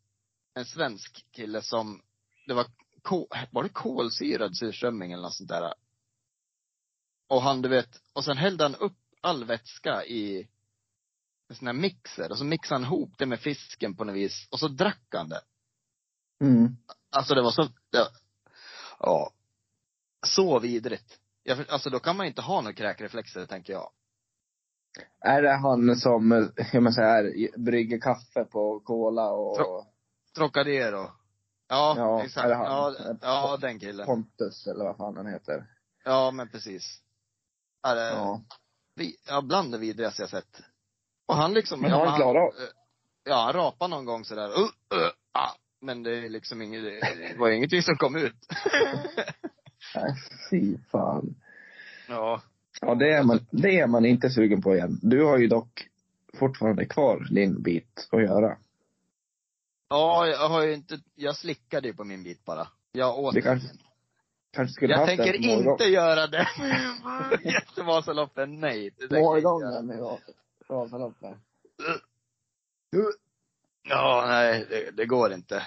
Speaker 1: en svensk kille som, det var, kol, var det kolsyrad surströmming eller något sånt där? Och han, du vet, och sen hällde han upp all vätska i en sån här mixer. Och så mixade han ihop det med fisken på något vis. Och så drack han det.
Speaker 2: Mm.
Speaker 1: Alltså det var så, det, ja. Så vidrigt. Jag, för- alltså då kan man inte ha några kräkreflexer, tänker jag.
Speaker 2: Är det han som, eh, hur man säger, brygger kaffe på cola och
Speaker 1: Trocadero. Ja,
Speaker 2: Ja,
Speaker 1: exakt.
Speaker 2: är det han?
Speaker 1: Ja, ja, den killen.
Speaker 2: Pontus eller vad fan han heter?
Speaker 1: Ja, men precis. Ja, det, ja.
Speaker 2: Ja.
Speaker 1: Vi, ja, bland det vidrigaste jag sett. Och han liksom.
Speaker 2: Men
Speaker 1: ja,
Speaker 2: har han klarat
Speaker 1: eh, Ja, han rapade någon gång sådär. Uh, uh, ah. Men det är liksom inget, det var ingenting som kom ut.
Speaker 2: Nej, fy fan.
Speaker 1: Ja.
Speaker 2: Ja, det är, man, det är man inte sugen på igen. Du har ju dock fortfarande kvar din bit att göra.
Speaker 1: Ja, jag har ju inte, jag slickade ju på min bit bara. Jag åt
Speaker 2: Vi kanske, kanske skulle
Speaker 1: Jag
Speaker 2: haft
Speaker 1: tänker
Speaker 2: den på morgon-
Speaker 1: inte göra det. Efter Vasaloppen, nej. Det tänker jag inte göra.
Speaker 2: morgonen i Vasaloppet.
Speaker 1: Ja, nej, det, det går inte.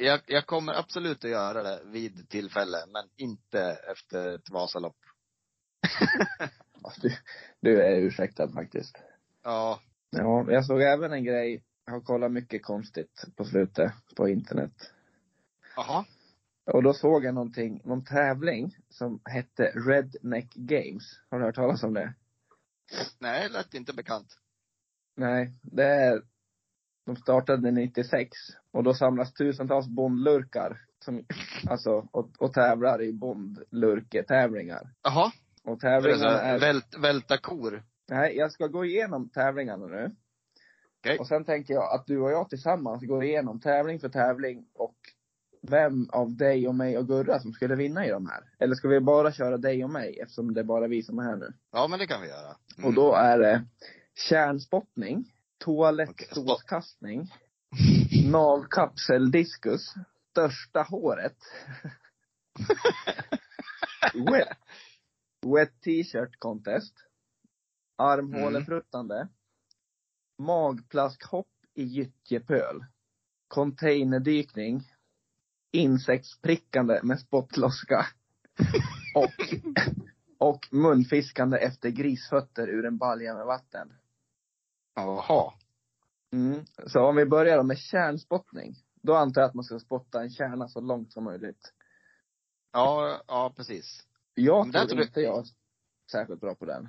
Speaker 1: Jag, jag kommer absolut att göra det vid tillfälle, men inte efter ett Vasalopp.
Speaker 2: Alltså, Du, du är ursäktad faktiskt.
Speaker 1: Ja,
Speaker 2: Ja, jag såg även en grej. Jag har kollat mycket konstigt på slutet på internet.
Speaker 1: jaha.
Speaker 2: Och då såg jag någonting, någon tävling som hette Redneck Games. Har du hört talas om det?
Speaker 1: Nej, det lät inte bekant.
Speaker 2: Nej, det är, de startade 96 och då samlas tusentals bondlurkar
Speaker 6: som, alltså, och, och tävlar i bondlurketävlingar.
Speaker 1: Jaha.
Speaker 6: Och
Speaker 1: Det är så
Speaker 6: tävlingarna
Speaker 2: eh,
Speaker 1: här,
Speaker 6: är
Speaker 1: Vält, välta kor.
Speaker 6: Nej, jag ska gå igenom tävlingarna nu.
Speaker 1: Okej.
Speaker 6: Och sen tänker jag att du och jag tillsammans går igenom tävling för tävling och vem av dig och mig och Gurra som skulle vinna i de här. Eller ska vi bara köra dig och mig eftersom det är bara vi som är här nu.
Speaker 1: Ja, men det kan vi göra. Mm.
Speaker 6: Och då är det kärnspottning, toalettstolskastning, navkapseldiskus, största håret. wet, wet t-shirt contest. Armhålefruttande. Magplaskhopp i gyttjepöl. Containerdykning. Insektsprickande med spottloska. och, och munfiskande efter grisfötter ur en balja med vatten.
Speaker 1: Jaha.
Speaker 6: Mm. Så om vi börjar då med kärnspottning. Då antar jag att man ska spotta en kärna så långt som möjligt.
Speaker 1: Ja, ja precis. Men
Speaker 6: Jag
Speaker 1: där
Speaker 6: tror,
Speaker 1: tror du-
Speaker 6: inte jag är särskilt bra på den.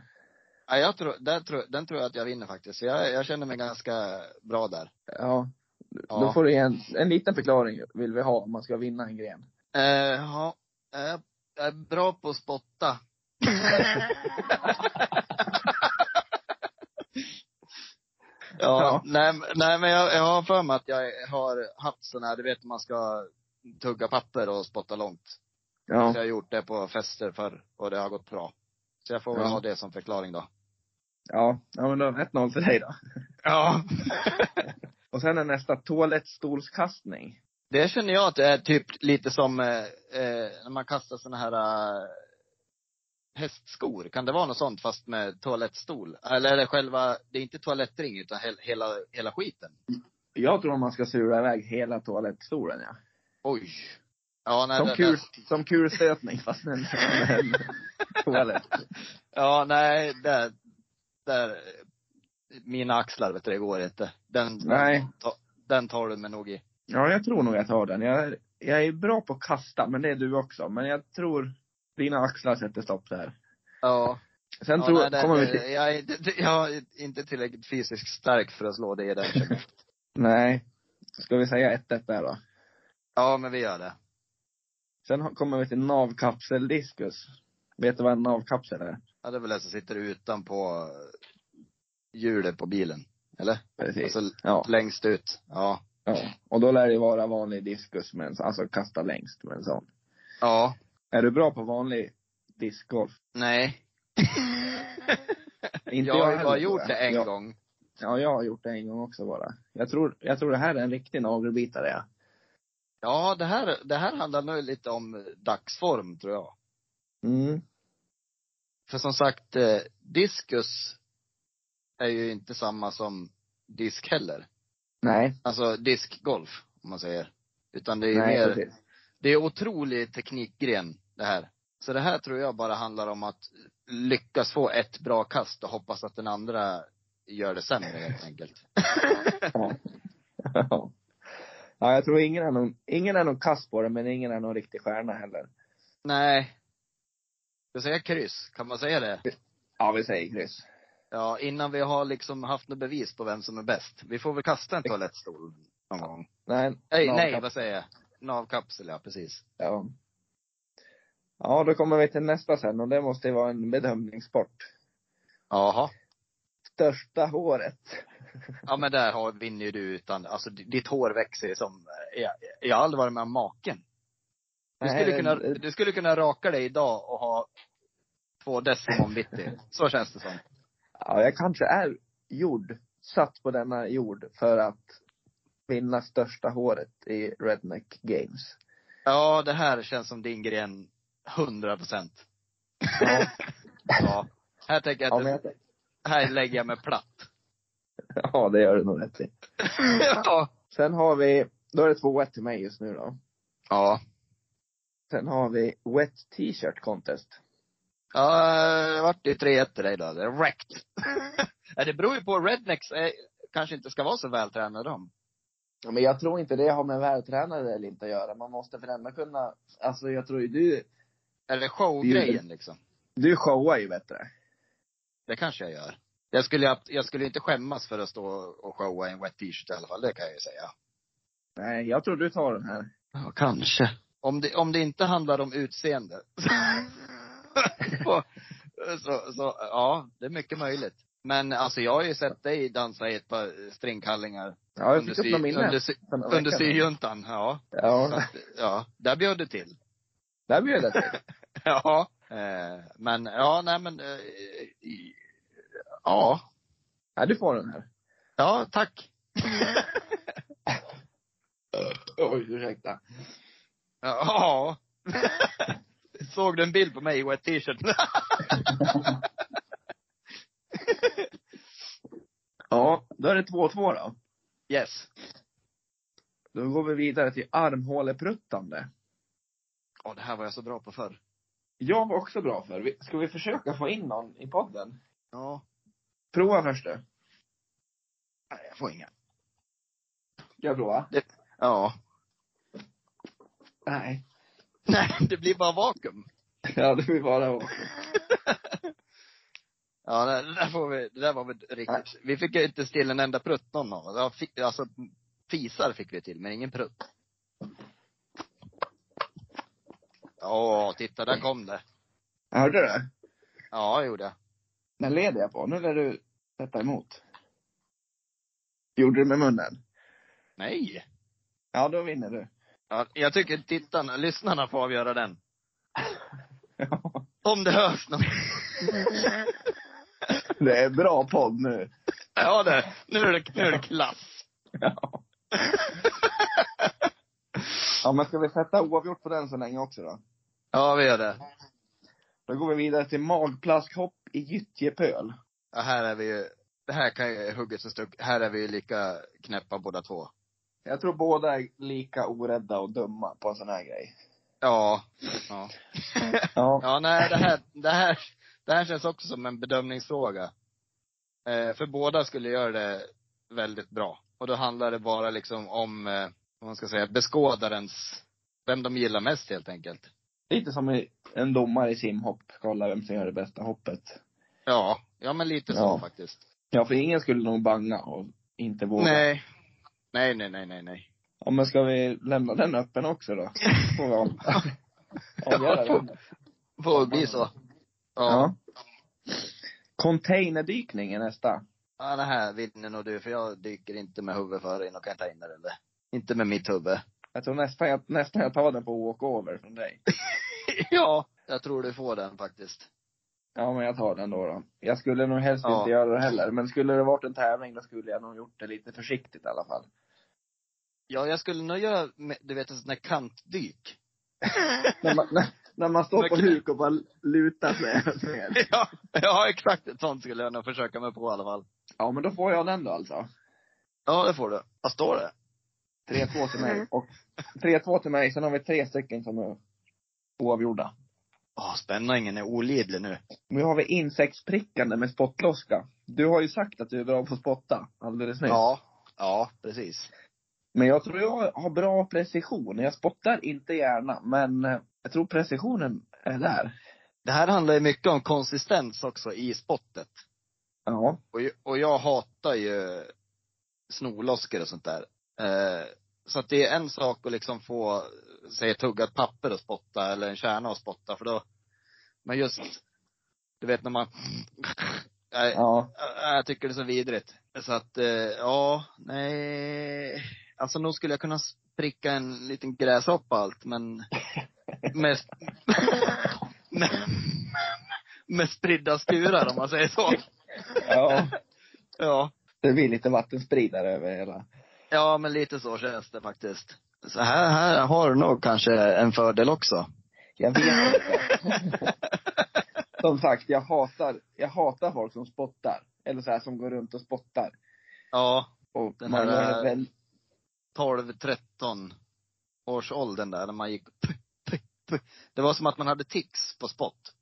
Speaker 1: Ja, jag tror, där tror, den tror jag att jag vinner faktiskt. Jag, jag känner mig ganska bra där.
Speaker 6: Ja. Då
Speaker 1: Ja.
Speaker 6: får du en, en liten förklaring vill vi ha om man ska vinna en gren.
Speaker 1: Eh, ja, jag, jag är bra på att spotta. ja,
Speaker 6: Ja.
Speaker 1: Nej, men- nej, men jag, jag har för mig att jag har haft sådana här, du vet man ska tugga papper och spotta långt. Så
Speaker 6: Ja.
Speaker 1: jag har gjort det på fester förr och det har gått bra. Så jag får väl
Speaker 6: Ja.
Speaker 1: ha det som förklaring då.
Speaker 6: Ja, ja men då 1-0 till dig då.
Speaker 1: Ja.
Speaker 6: Och sen är nästa toalettstolskastning.
Speaker 1: Det känner jag att det är typ lite som eh, eh, när man kastar såna här eh, hästskor. Kan det vara något sånt fast med toalettstol? Eller är det själva, det är inte toalettring utan he, hela, hela skiten?
Speaker 6: Jag tror att man ska sura iväg hela toalettstolen ja.
Speaker 1: Oj. Ja, nej,
Speaker 6: Som,
Speaker 1: det-
Speaker 6: kul,
Speaker 1: det-
Speaker 6: som kulstötning fast en, en toalett.
Speaker 1: Ja, nej, där, där, mina axlar vet du, det går inte. Den,
Speaker 6: Nej.
Speaker 1: Ta, den tar du mig nog i.
Speaker 6: Ja, jag tror nog jag tar den. Jag, jag är bra på att kasta, men det är du också. Men jag tror dina axlar sätter stopp där.
Speaker 1: Ja.
Speaker 6: Sen
Speaker 1: ja
Speaker 6: tror,
Speaker 1: nej, det,
Speaker 6: kommer vi till,
Speaker 1: det, jag, är inte, jag är inte tillräckligt fysiskt stark för att slå det i den. känner jag.
Speaker 6: nej. Ska vi säga 1-1 där då?
Speaker 1: Ja, men vi gör det.
Speaker 6: Sen har- kommer vi till navkapseldiskus. Vet du vad en navkapsel är?
Speaker 1: Ja, det är väl det som sitter utanpå eh, hjulet på bilen. Eller?
Speaker 6: Precis.
Speaker 1: Alltså
Speaker 6: Ja,
Speaker 1: längst ut. Ja.
Speaker 6: ja. Och då lär det vara vanlig diskus, med en, sån- alltså kasta längst med en sån.
Speaker 1: Ja.
Speaker 6: Är du bra på vanlig discgolf?
Speaker 1: Nej.
Speaker 6: Inte
Speaker 1: jag har ju
Speaker 6: heller,
Speaker 1: bara
Speaker 6: tror
Speaker 1: gjort
Speaker 6: jag.
Speaker 1: det en
Speaker 6: Ja.
Speaker 1: gång.
Speaker 6: Ja, jag har gjort det en gång också bara. Jag tror, jag tror det här är en riktig nagelbitare, ja.
Speaker 1: Ja, det här, det här handlar nog lite om eh, dagsform tror jag.
Speaker 6: Mm.
Speaker 1: För som sagt, eh, diskus är ju inte samma som disk heller.
Speaker 6: Nej.
Speaker 1: Alltså diskgolf, om man säger. Utan det är ju
Speaker 6: nej,
Speaker 1: mer,
Speaker 6: precis.
Speaker 1: det är otrolig teknikgren det här. Så det här tror jag bara handlar om att lyckas få ett bra kast och hoppas att den andra gör det sämre helt enkelt.
Speaker 6: Ja. ja, jag tror ingen är någon, ingen är någon kass på det, men ingen är någon riktig stjärna heller.
Speaker 1: Nej. Ska säga kryss? Kan man säga det?
Speaker 6: Ja, vi säger kryss.
Speaker 1: Ja, innan vi har liksom haft något bevis på vem som är bäst. Vi får väl kasta en toalettstol någon gång.
Speaker 6: Nej.
Speaker 1: Nej,
Speaker 6: ja,
Speaker 1: nej
Speaker 6: kap-
Speaker 1: vad säger jag? Navkapsel ja, precis.
Speaker 6: Ja. ja, då kommer vi till nästa sen och det måste ju vara en bedömningssport.
Speaker 1: Jaha.
Speaker 6: Största håret.
Speaker 1: Ja men där har, vinner ju du utan, alltså ditt hår växer ju som, jag, jag har aldrig varit med om maken. Du
Speaker 6: Nej,
Speaker 1: skulle,
Speaker 6: det-
Speaker 1: kunna, du skulle kunna raka dig idag och ha två decimon vitti. Så känns det som.
Speaker 6: Ja, jag kanske är gjord, satt på denna jord för att vinna största håret i Redneck Games.
Speaker 1: Ja, det här känns som din gren 100 procent.
Speaker 6: Ja,
Speaker 1: Ja. Här tänker jag
Speaker 6: ja,
Speaker 1: att,
Speaker 6: men
Speaker 1: det-
Speaker 6: jag,
Speaker 1: här lägger jag mig platt.
Speaker 6: ja det gör du nog rätt i.
Speaker 1: Ja.
Speaker 6: Sen har vi, då är det 2-1 till mig just nu då.
Speaker 1: Ja.
Speaker 6: Sen har vi Wet T-shirt contest.
Speaker 1: Ja, det vart ju 3-1 till dig då. Det är wrecked. Ja, det beror ju på, rednecks är, kanske inte ska vara så vältränade de.
Speaker 6: Ja, men jag tror inte det har med vältränade eller inte att göra. Man måste väl ändå kunna, alltså jag tror ju du,
Speaker 1: Eller showgrejen liksom.
Speaker 6: du showar ju bättre.
Speaker 1: Det kanske jag gör. Jag skulle, ab- jag skulle inte skämmas för att stå och showa i en wet t-shirt i alla fall, det kan jag ju säga.
Speaker 6: Nej, jag tror du tar den här.
Speaker 1: Ja, kanske. Om det, om det inte handlar om utseende. så, så, så, ja, det är mycket möjligt. Men alltså jag har ju sett dig dansa i ett par stringkallingar
Speaker 6: Ja, jag
Speaker 1: Under
Speaker 6: fick upp några
Speaker 1: sy-
Speaker 6: minnen.
Speaker 1: under sy-
Speaker 6: förra veckan.
Speaker 1: under syjuntan. Ja. Så
Speaker 6: Ja,
Speaker 1: att, ja, där bjöd det till.
Speaker 6: där bjöd jag till.
Speaker 1: Ja. Eh, men ja, nej men. Eh, i- ja.
Speaker 6: Ja, du får den här.
Speaker 1: Ja, tack.
Speaker 6: Oj, ursäkta.
Speaker 1: Ja. Såg du en bild på mig i wet t-shirt?
Speaker 6: Ja, då är det 2-2 då.
Speaker 1: yes.
Speaker 6: Då går vi vidare till armhålepruttande.
Speaker 1: Åh, det här var jag så bra på förr.
Speaker 6: Jag var också bra för. Vi- Ska vi försöka få in någon i podden?
Speaker 1: Ja.
Speaker 6: Prova först du.
Speaker 1: Nej, jag får inga.
Speaker 6: Ska jag prova?
Speaker 1: Ja.
Speaker 6: Nej.
Speaker 1: Nej, det blir bara vakuum.
Speaker 6: Ja, det blir bara att-
Speaker 1: Ja, det, det där får vi, det där var väl
Speaker 6: Nej.
Speaker 1: riktigt. Vi fick ju inte till en enda prutt någon av oss. Ja, fi- Alltså, fisar fick vi till, men ingen prutt. Åh, titta, där kom det.
Speaker 6: Hörde du?
Speaker 1: Ja, jag gjorde jag.
Speaker 6: Den leder jag på. Nu lär du sätta emot. Gjorde du med munnen?
Speaker 1: Nej.
Speaker 6: Ja, då vinner du.
Speaker 1: Ja, jag tycker tittarna, lyssnarna får avgöra den. Om det hörs någon.
Speaker 6: Det är bra podd nu.
Speaker 1: Ja det, nu är det, nu är det klass.
Speaker 6: Ja. ja, men ska vi sätta oavgjort på den så länge också då?
Speaker 1: Ja, vi gör det.
Speaker 6: Då går vi vidare till magplaskhopp i gyttjepöl.
Speaker 1: Ja, här är vi ju, det här kan ju huggas en stuck, här är vi ju lika knäppa båda två.
Speaker 6: Jag tror båda är lika orädda och dumma på en sån här grej.
Speaker 1: Ja. Ja.
Speaker 6: Ja.
Speaker 1: Ja, nej, det här, det här, det här känns också som en bedömningsfråga. Eh, för båda skulle göra det väldigt bra. Och då handlar det bara liksom om, eh, vad man ska säga, beskådarens, vem de gillar mest helt enkelt.
Speaker 6: Lite som i- en domare i simhopp. Kolla vem som gör det bästa hoppet.
Speaker 1: Ja, ja men lite så
Speaker 6: Ja.
Speaker 1: faktiskt.
Speaker 6: Ja, för ingen skulle nog banga och inte våga.
Speaker 1: Nej. Nej, nej, nej, nej, nej.
Speaker 6: Ja, men ska vi lämna den öppen också då? Får vi av- avgöra den.
Speaker 1: Får bli så. Ja.
Speaker 6: Ja. Containerdykning är nästa.
Speaker 1: ja. Det här vinner nog du, för jag dyker inte med huvudet före in och kan ta in det eller. Inte med mitt huvud.
Speaker 6: Jag tror nästan jag, nästan jag tar den på walkover från dig.
Speaker 1: ja. Jag tror du får den faktiskt.
Speaker 6: Ja, men jag tar den då. då. Jag skulle nog helst
Speaker 1: Ja.
Speaker 6: inte göra det heller. Men skulle det varit en tävling då skulle jag nog gjort det lite försiktigt i alla fall.
Speaker 1: Ja, jag skulle nog göra, med- du vet en sån där kantdyk.
Speaker 6: När man, när, när man står på huk och bara lutar sig ner.
Speaker 1: ja, ja, exakt ett sånt skulle jag nog försöka mig på i alla fall.
Speaker 6: Ja, men då får jag den då alltså.
Speaker 1: Ja, det får du. Vad står det?
Speaker 6: 3-2 till mig. Och 3-2 till mig. Sen har vi tre stycken som är oavgjorda.
Speaker 1: Åh, spänningen är olidlig nu.
Speaker 6: Nu har vi insektsprickande med spottloska. Du har ju sagt att du är bra på att spotta alldeles nyss.
Speaker 1: Ja. Ja, precis.
Speaker 6: Men jag tror jag har bra precision. Jag spottar inte gärna, men eh, jag tror precisionen är där.
Speaker 1: Det här handlar ju mycket om konsistens också i spottet.
Speaker 6: Ja.
Speaker 1: Och, ju- och jag hatar ju snorloskor och sånt där. Eh, så att det är en sak att liksom få, säg ett tuggat papper och spotta eller en kärna och spotta för då, men just, du vet när man, nej,
Speaker 6: Ja.
Speaker 1: jag, jag tycker det är så vidrigt. Så att, eh, ja, nej. Alltså nog skulle jag kunna pricka en liten gräshoppa och allt, men med, med, med spridda skurar om man säger så.
Speaker 6: ja.
Speaker 1: Ja.
Speaker 6: Det blir lite vattenspridare över hela.
Speaker 1: Ja, men lite så känns det faktiskt. Så här, här har du nog kanske en fördel också.
Speaker 6: Jag vet inte. Som sagt, jag hatar, jag hatar folk som spottar. Eller så här som går runt och spottar.
Speaker 1: Ja,
Speaker 6: Och
Speaker 1: Den
Speaker 6: man
Speaker 1: här,
Speaker 6: gör
Speaker 1: eh,
Speaker 6: det väl,
Speaker 1: 12-13 års åldern där, när man gick p- p- p- Det var som att man hade tics på spott.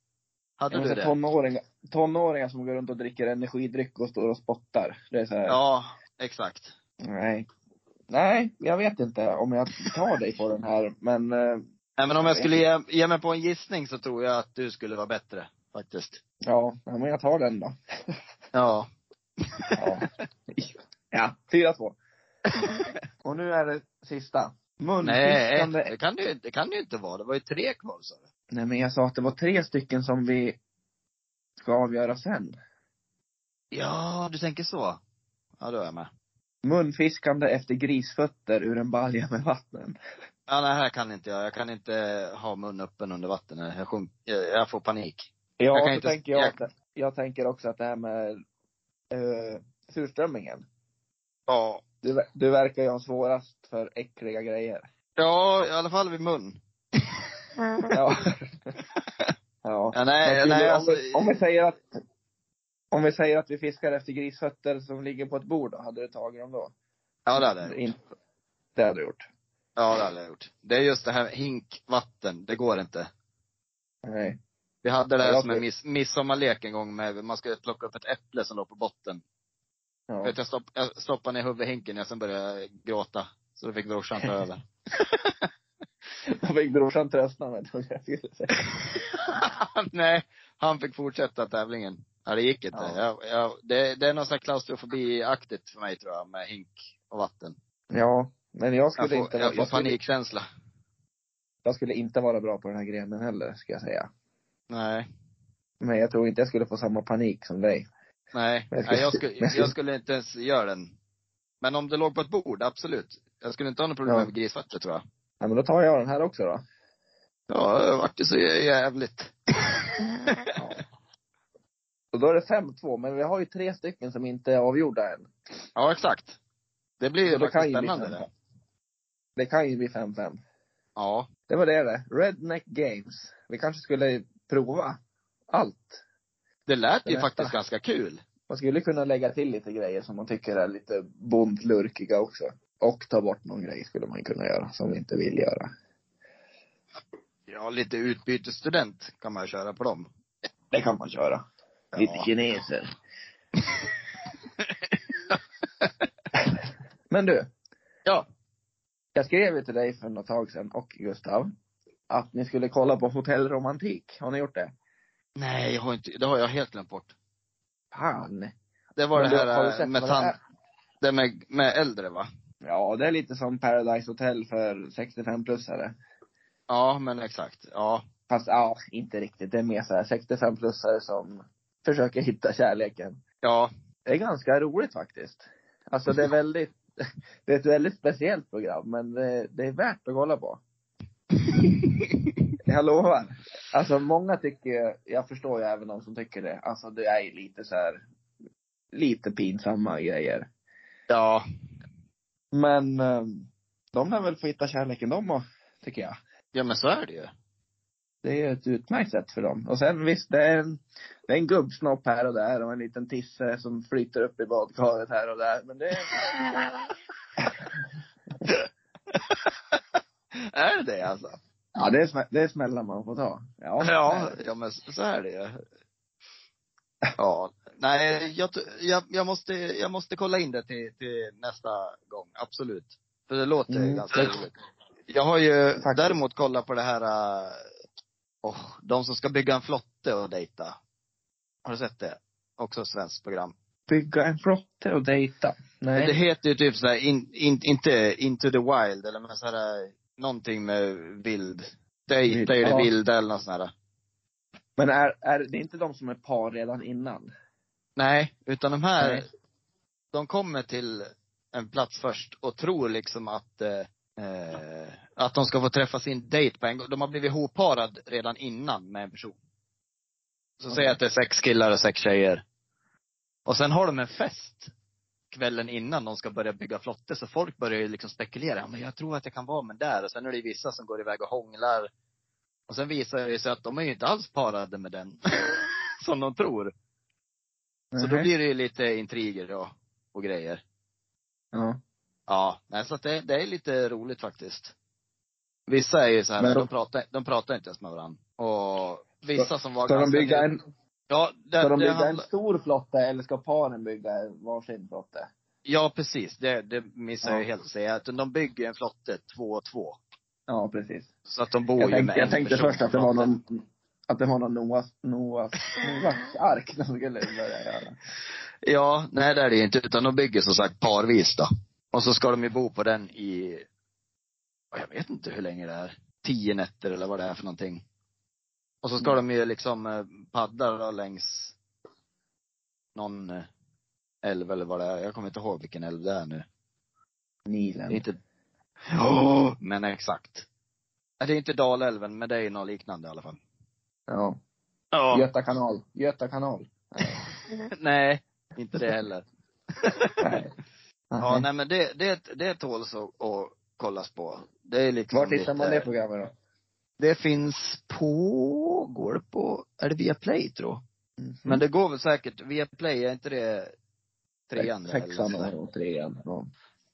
Speaker 1: Hade
Speaker 6: jag
Speaker 1: du
Speaker 6: menar,
Speaker 1: det?
Speaker 6: tonåringar, tonåringar som går runt och dricker energidryck och står och spottar. Det är så här,
Speaker 1: Ja, exakt.
Speaker 6: nej. Nej, jag vet inte om jag tar dig på den här, men eh,
Speaker 1: Nej, men om jag skulle ge, ge mig på en gissning så tror jag att du skulle vara bättre, faktiskt.
Speaker 6: ja, ja, men jag tar den då.
Speaker 1: Ja.
Speaker 6: Ja. ja, 4-2. Och nu är det sista.
Speaker 1: Nej,
Speaker 6: Munfiskande.
Speaker 1: det kan det, ju- det kan det ju inte vara. Det var ju tre kvar sa du.
Speaker 6: Nej, men jag sa att det var tre stycken som vi ska avgöra sen.
Speaker 1: Ja, du tänker så. Ja, då är jag med.
Speaker 6: Munfiskande efter grisfötter ur en balja med vatten.
Speaker 1: Ja, nej, här kan inte jag. Jag kan inte ha mun öppen under vatten. Jag, sjunk, jag, jag får panik.
Speaker 6: Ja,
Speaker 1: Jag
Speaker 6: jag
Speaker 1: kan
Speaker 6: så
Speaker 1: inte-
Speaker 6: tänker jag,
Speaker 1: jag-
Speaker 6: jag. jag tänker också att det här med eh, surströmmingen.
Speaker 1: Ja.
Speaker 6: Du, ver- du verkar ju ha svårast för äckliga grejer.
Speaker 1: Ja, i alla fall vid mun.
Speaker 6: Ja. ja.
Speaker 1: Ja, nej,
Speaker 6: Men
Speaker 1: nej
Speaker 6: om,
Speaker 1: alltså.
Speaker 6: vi, om vi säger att om vi säger att vi fiskar efter grisfötter som ligger på ett bord, då hade du tagit dem då?
Speaker 1: Ja, det hade jag gjort.
Speaker 6: In, det hade du gjort.
Speaker 1: Ja, det hade jag gjort. Det är just det här med hinkvatten. Det går inte.
Speaker 6: Nej.
Speaker 1: Vi hade det här
Speaker 6: Jag
Speaker 1: som en
Speaker 6: tror-
Speaker 1: miss, midsommarlek en gång med, man skulle plocka upp ett äpple som låg på botten.
Speaker 6: Ja.
Speaker 1: Vet, jag, stopp, jag stoppade ner huvudet i hinken och sen började jag gråta. Så då fick brorsan ta över.
Speaker 6: Då fick brorsan trösta mig, tror jag jag skulle säga.
Speaker 1: Nej, han fick fortsätta tävlingen. Ja, det gick inte.
Speaker 6: Ja.
Speaker 1: Jag, jag, det, det är någon sån här klaustrofobi-aktigt för mig tror jag, med hink och vatten.
Speaker 6: Ja, men jag
Speaker 1: Jag
Speaker 6: skulle,
Speaker 1: får,
Speaker 6: inte,
Speaker 1: jag
Speaker 6: jag,
Speaker 1: får
Speaker 6: jag, skulle,
Speaker 1: panikkänsla.
Speaker 6: jag skulle inte vara bra på den här grenen heller, ska jag säga.
Speaker 1: Nej.
Speaker 6: Men jag tror inte jag skulle få samma panik som dig.
Speaker 1: Nej,
Speaker 6: Men jag
Speaker 1: nej
Speaker 6: skulle-
Speaker 1: jag, skulle,
Speaker 6: men jag skulle-
Speaker 1: jag skulle inte ens göra den. Men om det låg på ett bord, absolut. Jag skulle inte ha något problem
Speaker 6: Ja.
Speaker 1: med grisfötter tror jag.
Speaker 6: Ja, men då tar jag den här också då.
Speaker 1: Ja, det vart ju så jävligt.
Speaker 6: Och då är det 5-2, men vi har ju tre stycken som inte är avgjorda än.
Speaker 1: Ja, exakt. Det blir ju
Speaker 6: Och det
Speaker 1: faktiskt
Speaker 6: kan ju liksom- bli
Speaker 1: spännande det.
Speaker 6: 5-5. Det kan ju bli 5-5.
Speaker 1: Ja.
Speaker 6: Det var det det. Redneck Games. Vi kanske skulle prova allt.
Speaker 1: Det lät
Speaker 6: Det
Speaker 1: ju
Speaker 6: mesta.
Speaker 1: faktiskt ganska kul.
Speaker 6: Man skulle kunna lägga till lite grejer som man tycker är lite bondlurkiga också. Och ta bort någon grej skulle man kunna göra, som vi inte vill göra.
Speaker 1: Ja, lite utbytesstudent kan man ju köra på dem.
Speaker 6: Det kan man köra.
Speaker 1: Ja.
Speaker 6: Lite kineser. Men du.
Speaker 1: Ja.
Speaker 6: Jag skrev ju till dig för något tag sedan och Gustav att ni skulle kolla på hotellromantik. Har ni gjort det?
Speaker 1: Nej, jag har inte, det har jag helt glömt bort.
Speaker 6: Fan.
Speaker 1: Det var
Speaker 6: Men
Speaker 1: det
Speaker 6: du, har du
Speaker 1: här eh,
Speaker 6: sett
Speaker 1: med
Speaker 6: vad det
Speaker 1: tant,
Speaker 6: är?
Speaker 1: det med, med äldre va?
Speaker 6: Ja, det är lite som Paradise Hotel för 65-plussare.
Speaker 1: Ja, men exakt. Ja.
Speaker 6: Fast ja, inte riktigt. Det är mer så här 65-plussare som försöker hitta kärleken.
Speaker 1: Ja.
Speaker 6: Det är ganska roligt faktiskt. Alltså det är väldigt, det är ett väldigt speciellt program, men det, det är värt att kolla på. Jag lovar. Alltså många tycker ju- jag förstår ju även de som tycker det, alltså det är ju lite så här, lite pinsamma grejer.
Speaker 1: Ja.
Speaker 6: Men eh, de lär väl få hitta kärleken de och, tycker jag.
Speaker 1: Ja, men så är det ju.
Speaker 6: Det är ett utmärkt sätt för dem. Och sen visst, det är en, det är en gubbsnopp här och där och en liten tisse som flyter upp i badkaret här och där. Men det,
Speaker 1: Är det det alltså?
Speaker 6: ja, det, är, smä- det är smällar man får ta. Ja.
Speaker 1: Ja, ja men så så är det ju. Ja. Nej, jag, t- jag, jag, måste, jag måste kolla in det till, till nästa gång. Absolut. För det låter ju
Speaker 6: Mm.
Speaker 1: ganska roligt. Jag har ju
Speaker 6: Faktiskt.
Speaker 1: däremot kollat på det här, eh, åh, de som ska bygga en flotte och dejta. Har du sett det? Också ett svenskt program.
Speaker 6: Bygga en flotte och dejta.
Speaker 1: Men Det
Speaker 6: Nej.
Speaker 1: heter ju typ såhär, in, in, inte into the wild, eller men såhär, någonting med vild. Dejta i det
Speaker 6: Ja.
Speaker 1: vilda eller något sånt där.
Speaker 6: Men är, är det är inte de som är par redan innan?
Speaker 1: Nej, utan de här,
Speaker 6: Nej.
Speaker 1: de kommer till en plats först och tror liksom att, eh, eh, att de ska få träffa sin dejt på en gång. De har blivit hopparad redan innan med en person. Så säg att det är sex killar och sex tjejer. Och sen har de en fest kvällen innan de ska börja bygga flotte, så folk börjar ju liksom spekulera. "Ja, Men jag tror att jag kan vara med där. Och sen är det ju vissa som går iväg och hånglar. Och sen visar det sig att de är ju inte alls parade med den. som de tror. Så då
Speaker 6: Nej.
Speaker 1: blir det ju lite intriger och, och grejer.
Speaker 6: Ja.
Speaker 1: Ja, nej, så att det, det är lite roligt faktiskt. Vissa är ju så här,
Speaker 6: Men
Speaker 1: de,
Speaker 6: de-
Speaker 1: pratar, de pratar inte ens med varandra. Och vissa som var
Speaker 6: Ska de bygga en,
Speaker 1: Ja, det,
Speaker 6: ska
Speaker 1: alltså, det
Speaker 6: de bygga en
Speaker 1: handlar,
Speaker 6: stor flotte eller ska paren bygga en varsin flotte?
Speaker 1: ja precis. Det, det missar jag
Speaker 6: Ja.
Speaker 1: helt att säga. Utan de bygger en flotte två och två.
Speaker 6: Ja, precis.
Speaker 1: Så att de bor
Speaker 6: Jag
Speaker 1: ju med
Speaker 6: tänkte, jag
Speaker 1: en
Speaker 6: tänkte
Speaker 1: person
Speaker 6: först att
Speaker 1: på
Speaker 6: det var
Speaker 1: flotten.
Speaker 6: någon, att det var någon Noahs, Noahs, Noahs ark de skulle börja göra.
Speaker 1: Ja, nej det är det ju inte. Utan de bygger som sagt parvis då. Och så ska de ju bo på den i jag vet inte hur länge det är. Tio nätter eller vad det är för någonting. Och så ska de ju liksom eh, paddla då längs någon eh, älv eller vad det är. Jag kommer inte ihåg vilken älv det är nu. Det är
Speaker 6: Nilen.
Speaker 1: inte... Mm. Ja, men exakt. Nej, Det är inte Dalälven, men det är ju något liknande i alla fall.
Speaker 6: Ja.
Speaker 1: Ja.
Speaker 6: Göta kanal. Göta kanal.
Speaker 1: Nej, inte det heller.
Speaker 6: Nej.
Speaker 1: Ja, nej men det, det, det tåls att, att kollas på. Det är liksom
Speaker 6: Var tittar man det
Speaker 1: lite-
Speaker 6: programmet då?
Speaker 1: Det finns på, går det på, är det via Play tror Men det går väl säkert, via Play, är inte det trean? där, eller
Speaker 6: Sexan
Speaker 1: sådär?
Speaker 6: och trean. Ja.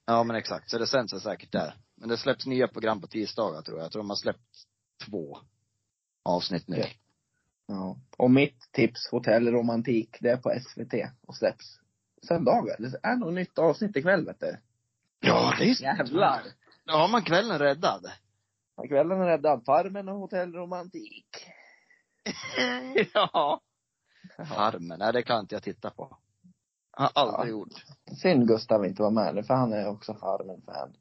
Speaker 1: Ja men exakt, så det sänds väl säkert där. Men det släpps nya program på tisdagar tror jag. Jag tror de har släppt två avsnitt nu.
Speaker 6: Ja. ja. Och mitt tips, Hotell Romantik, det är på SVT och släpps söndagar. Det är nog nytt avsnitt ikväll vet du.
Speaker 1: Ja, det är
Speaker 6: Jävlar!
Speaker 1: Då har man kvällen räddad.
Speaker 6: Kvällen är räddad. Farmen och Hotell Romantik.
Speaker 1: ja. Farmen, nej det kan inte jag titta på. Har aldrig
Speaker 6: Ja.
Speaker 1: gjort.
Speaker 6: Synd Gustav inte var med nu, för han är också Farmen-fan.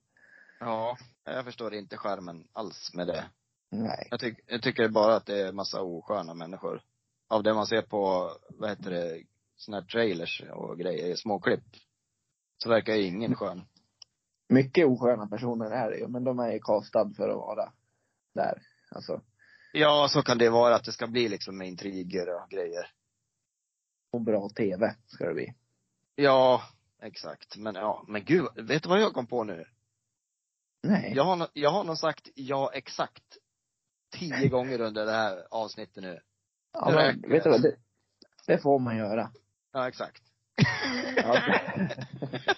Speaker 1: Ja. Jag förstår inte skärmen alls med det.
Speaker 6: Nej.
Speaker 1: Jag, tyck, jag tycker bara att det är massa osköna människor. Av det man ser på, vad heter det, såna här trailers och grejer, småklipp. Så verkar ju ingen skön.
Speaker 6: Mycket osköna personer är det ju, men de är ju castad för att vara där. Alltså.
Speaker 1: Ja, så kan det vara att det ska bli liksom med intriger och grejer.
Speaker 6: Och bra TV ska det bli.
Speaker 1: Ja, exakt. Men ja, men gud, vet du vad jag kom på nu?
Speaker 6: Nej.
Speaker 1: Jag har, nå- jag har nog sagt ja exakt tio gånger under det här avsnittet nu.
Speaker 6: Ja,
Speaker 1: Det
Speaker 6: men,
Speaker 1: räcker.
Speaker 6: vet du vad, det, det får man göra.
Speaker 1: Ja, exakt.
Speaker 6: Ja.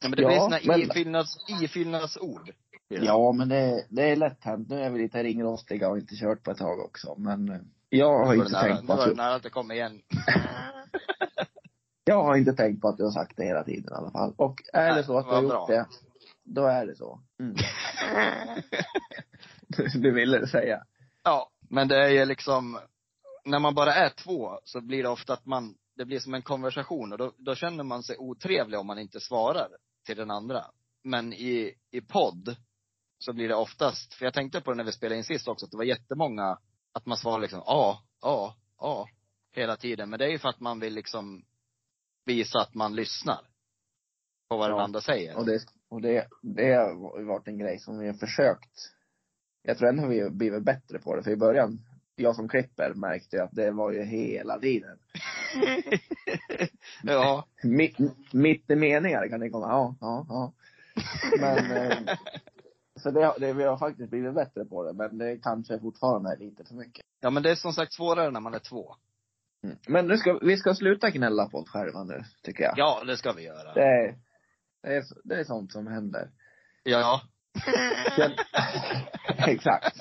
Speaker 1: Ja, men det
Speaker 6: Ja,
Speaker 1: blir såna
Speaker 6: men-
Speaker 1: ifyllnads, ifyllnadsord.
Speaker 6: Ja, men det, det är lätt hänt. Nu är vi lite ringrostiga och har inte kört på ett tag också. Men eh, jag har
Speaker 1: Nu var det
Speaker 6: inte
Speaker 1: nära,
Speaker 6: tänkt
Speaker 1: nu
Speaker 6: på
Speaker 1: var
Speaker 6: att
Speaker 1: det
Speaker 6: du,
Speaker 1: nära att det kom igen.
Speaker 6: jag har inte tänkt på att du har sagt det hela tiden i alla fall. Och är
Speaker 1: Nej,
Speaker 6: det så att du
Speaker 1: vad
Speaker 6: har gjort
Speaker 1: bra.
Speaker 6: det, då är det så. Mm. du ville säga.
Speaker 1: Ja, men det är ju liksom, när man bara är två så blir det ofta att man, det blir som en konversation och då, då känner man sig otrevlig om man inte svarar till den andra. Men i, i podd så blir det oftast, för jag tänkte på det när vi spelade in sist också, att det var jättemånga, att man svarar liksom ja, ja, ja, hela tiden. Men det är ju för att man vill liksom visa att man lyssnar på vad den
Speaker 6: Ja.
Speaker 1: andra säger.
Speaker 6: Och det, och det, det har varit en grej som vi har försökt. Jag tror ändå vi har blivit bättre på det. För i början, jag som klipper märkte ju att det var ju hela tiden.
Speaker 1: ja.
Speaker 6: mitt, mitt i meningar kan det komma. Ja, ja, ja. Men, eh, så det, har- det, vi har faktiskt blivit bättre på det, men det kanske fortfarande är lite för mycket. Mm.
Speaker 1: Ja men det är som sagt svårare när man är två.
Speaker 6: Men nu ska, vi ska sluta gnälla på oss själva nu, tycker jag.
Speaker 1: Ja, det ska vi göra.
Speaker 6: Det, är, det, är, det är sånt som händer.
Speaker 1: Ja.
Speaker 6: Känn- Exakt.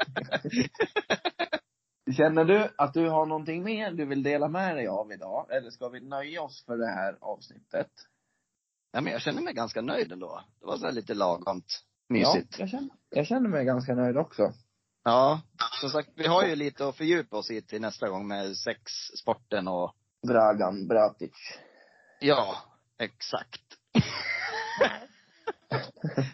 Speaker 6: Känner du att du har någonting mer du vill dela med dig av idag? Eller ska vi nöja oss för det här avsnittet?
Speaker 1: ja men jag känner mig ganska nöjd ändå. Det var så här lite lagomt. Mysigt.
Speaker 6: Ja, jag känner, jag känner mig ganska nöjd också.
Speaker 1: Ja. Som sagt, vi har ju lite att fördjupa oss i till nästa gång med sexsporten och,
Speaker 6: Dragan Bratic.
Speaker 1: ja, exakt.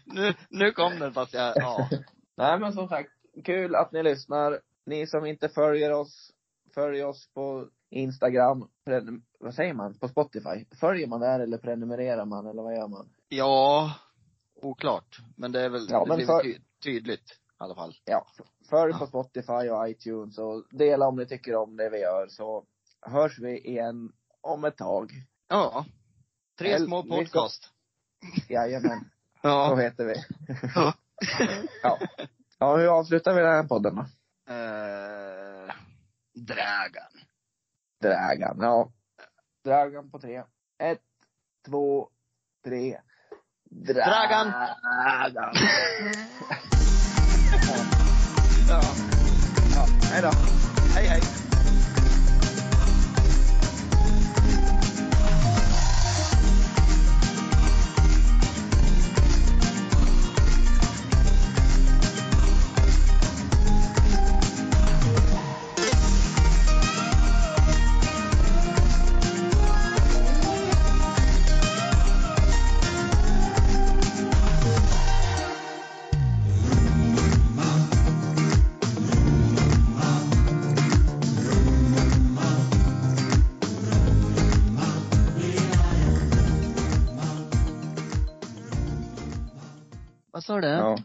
Speaker 1: nu, nu kom den fast jag, ja.
Speaker 6: Nej men som sagt, kul att ni lyssnar. Ni som inte följer oss, följ oss på Instagram. Prenum- vad säger man? På Spotify? Följer man där eller prenumererar man eller vad gör man?
Speaker 1: Ja, oklart. Men det är väl,
Speaker 6: Ja,
Speaker 1: det
Speaker 6: men
Speaker 1: blir
Speaker 6: för-
Speaker 1: väl ty, tydligt i alla fall.
Speaker 6: Ja, följ
Speaker 1: Ja.
Speaker 6: på Spotify och iTunes och dela om ni tycker om det vi gör så hörs vi igen om ett tag.
Speaker 1: Ja. Tre
Speaker 6: Eller-
Speaker 1: små
Speaker 6: vi ska-
Speaker 1: podcast.
Speaker 6: Jajamän, så
Speaker 1: Ja.
Speaker 6: heter vi. ja. ja, hur avslutar vi den här podden då?
Speaker 1: Eh, Dragan.
Speaker 6: Dragan, ja. Dragan på tre. Ett, två, tre.
Speaker 1: Dragan.
Speaker 6: Dragan.
Speaker 1: Ja.
Speaker 6: Ja, hej då.
Speaker 1: Hej, hej.
Speaker 7: Vad sa du?
Speaker 1: Ja.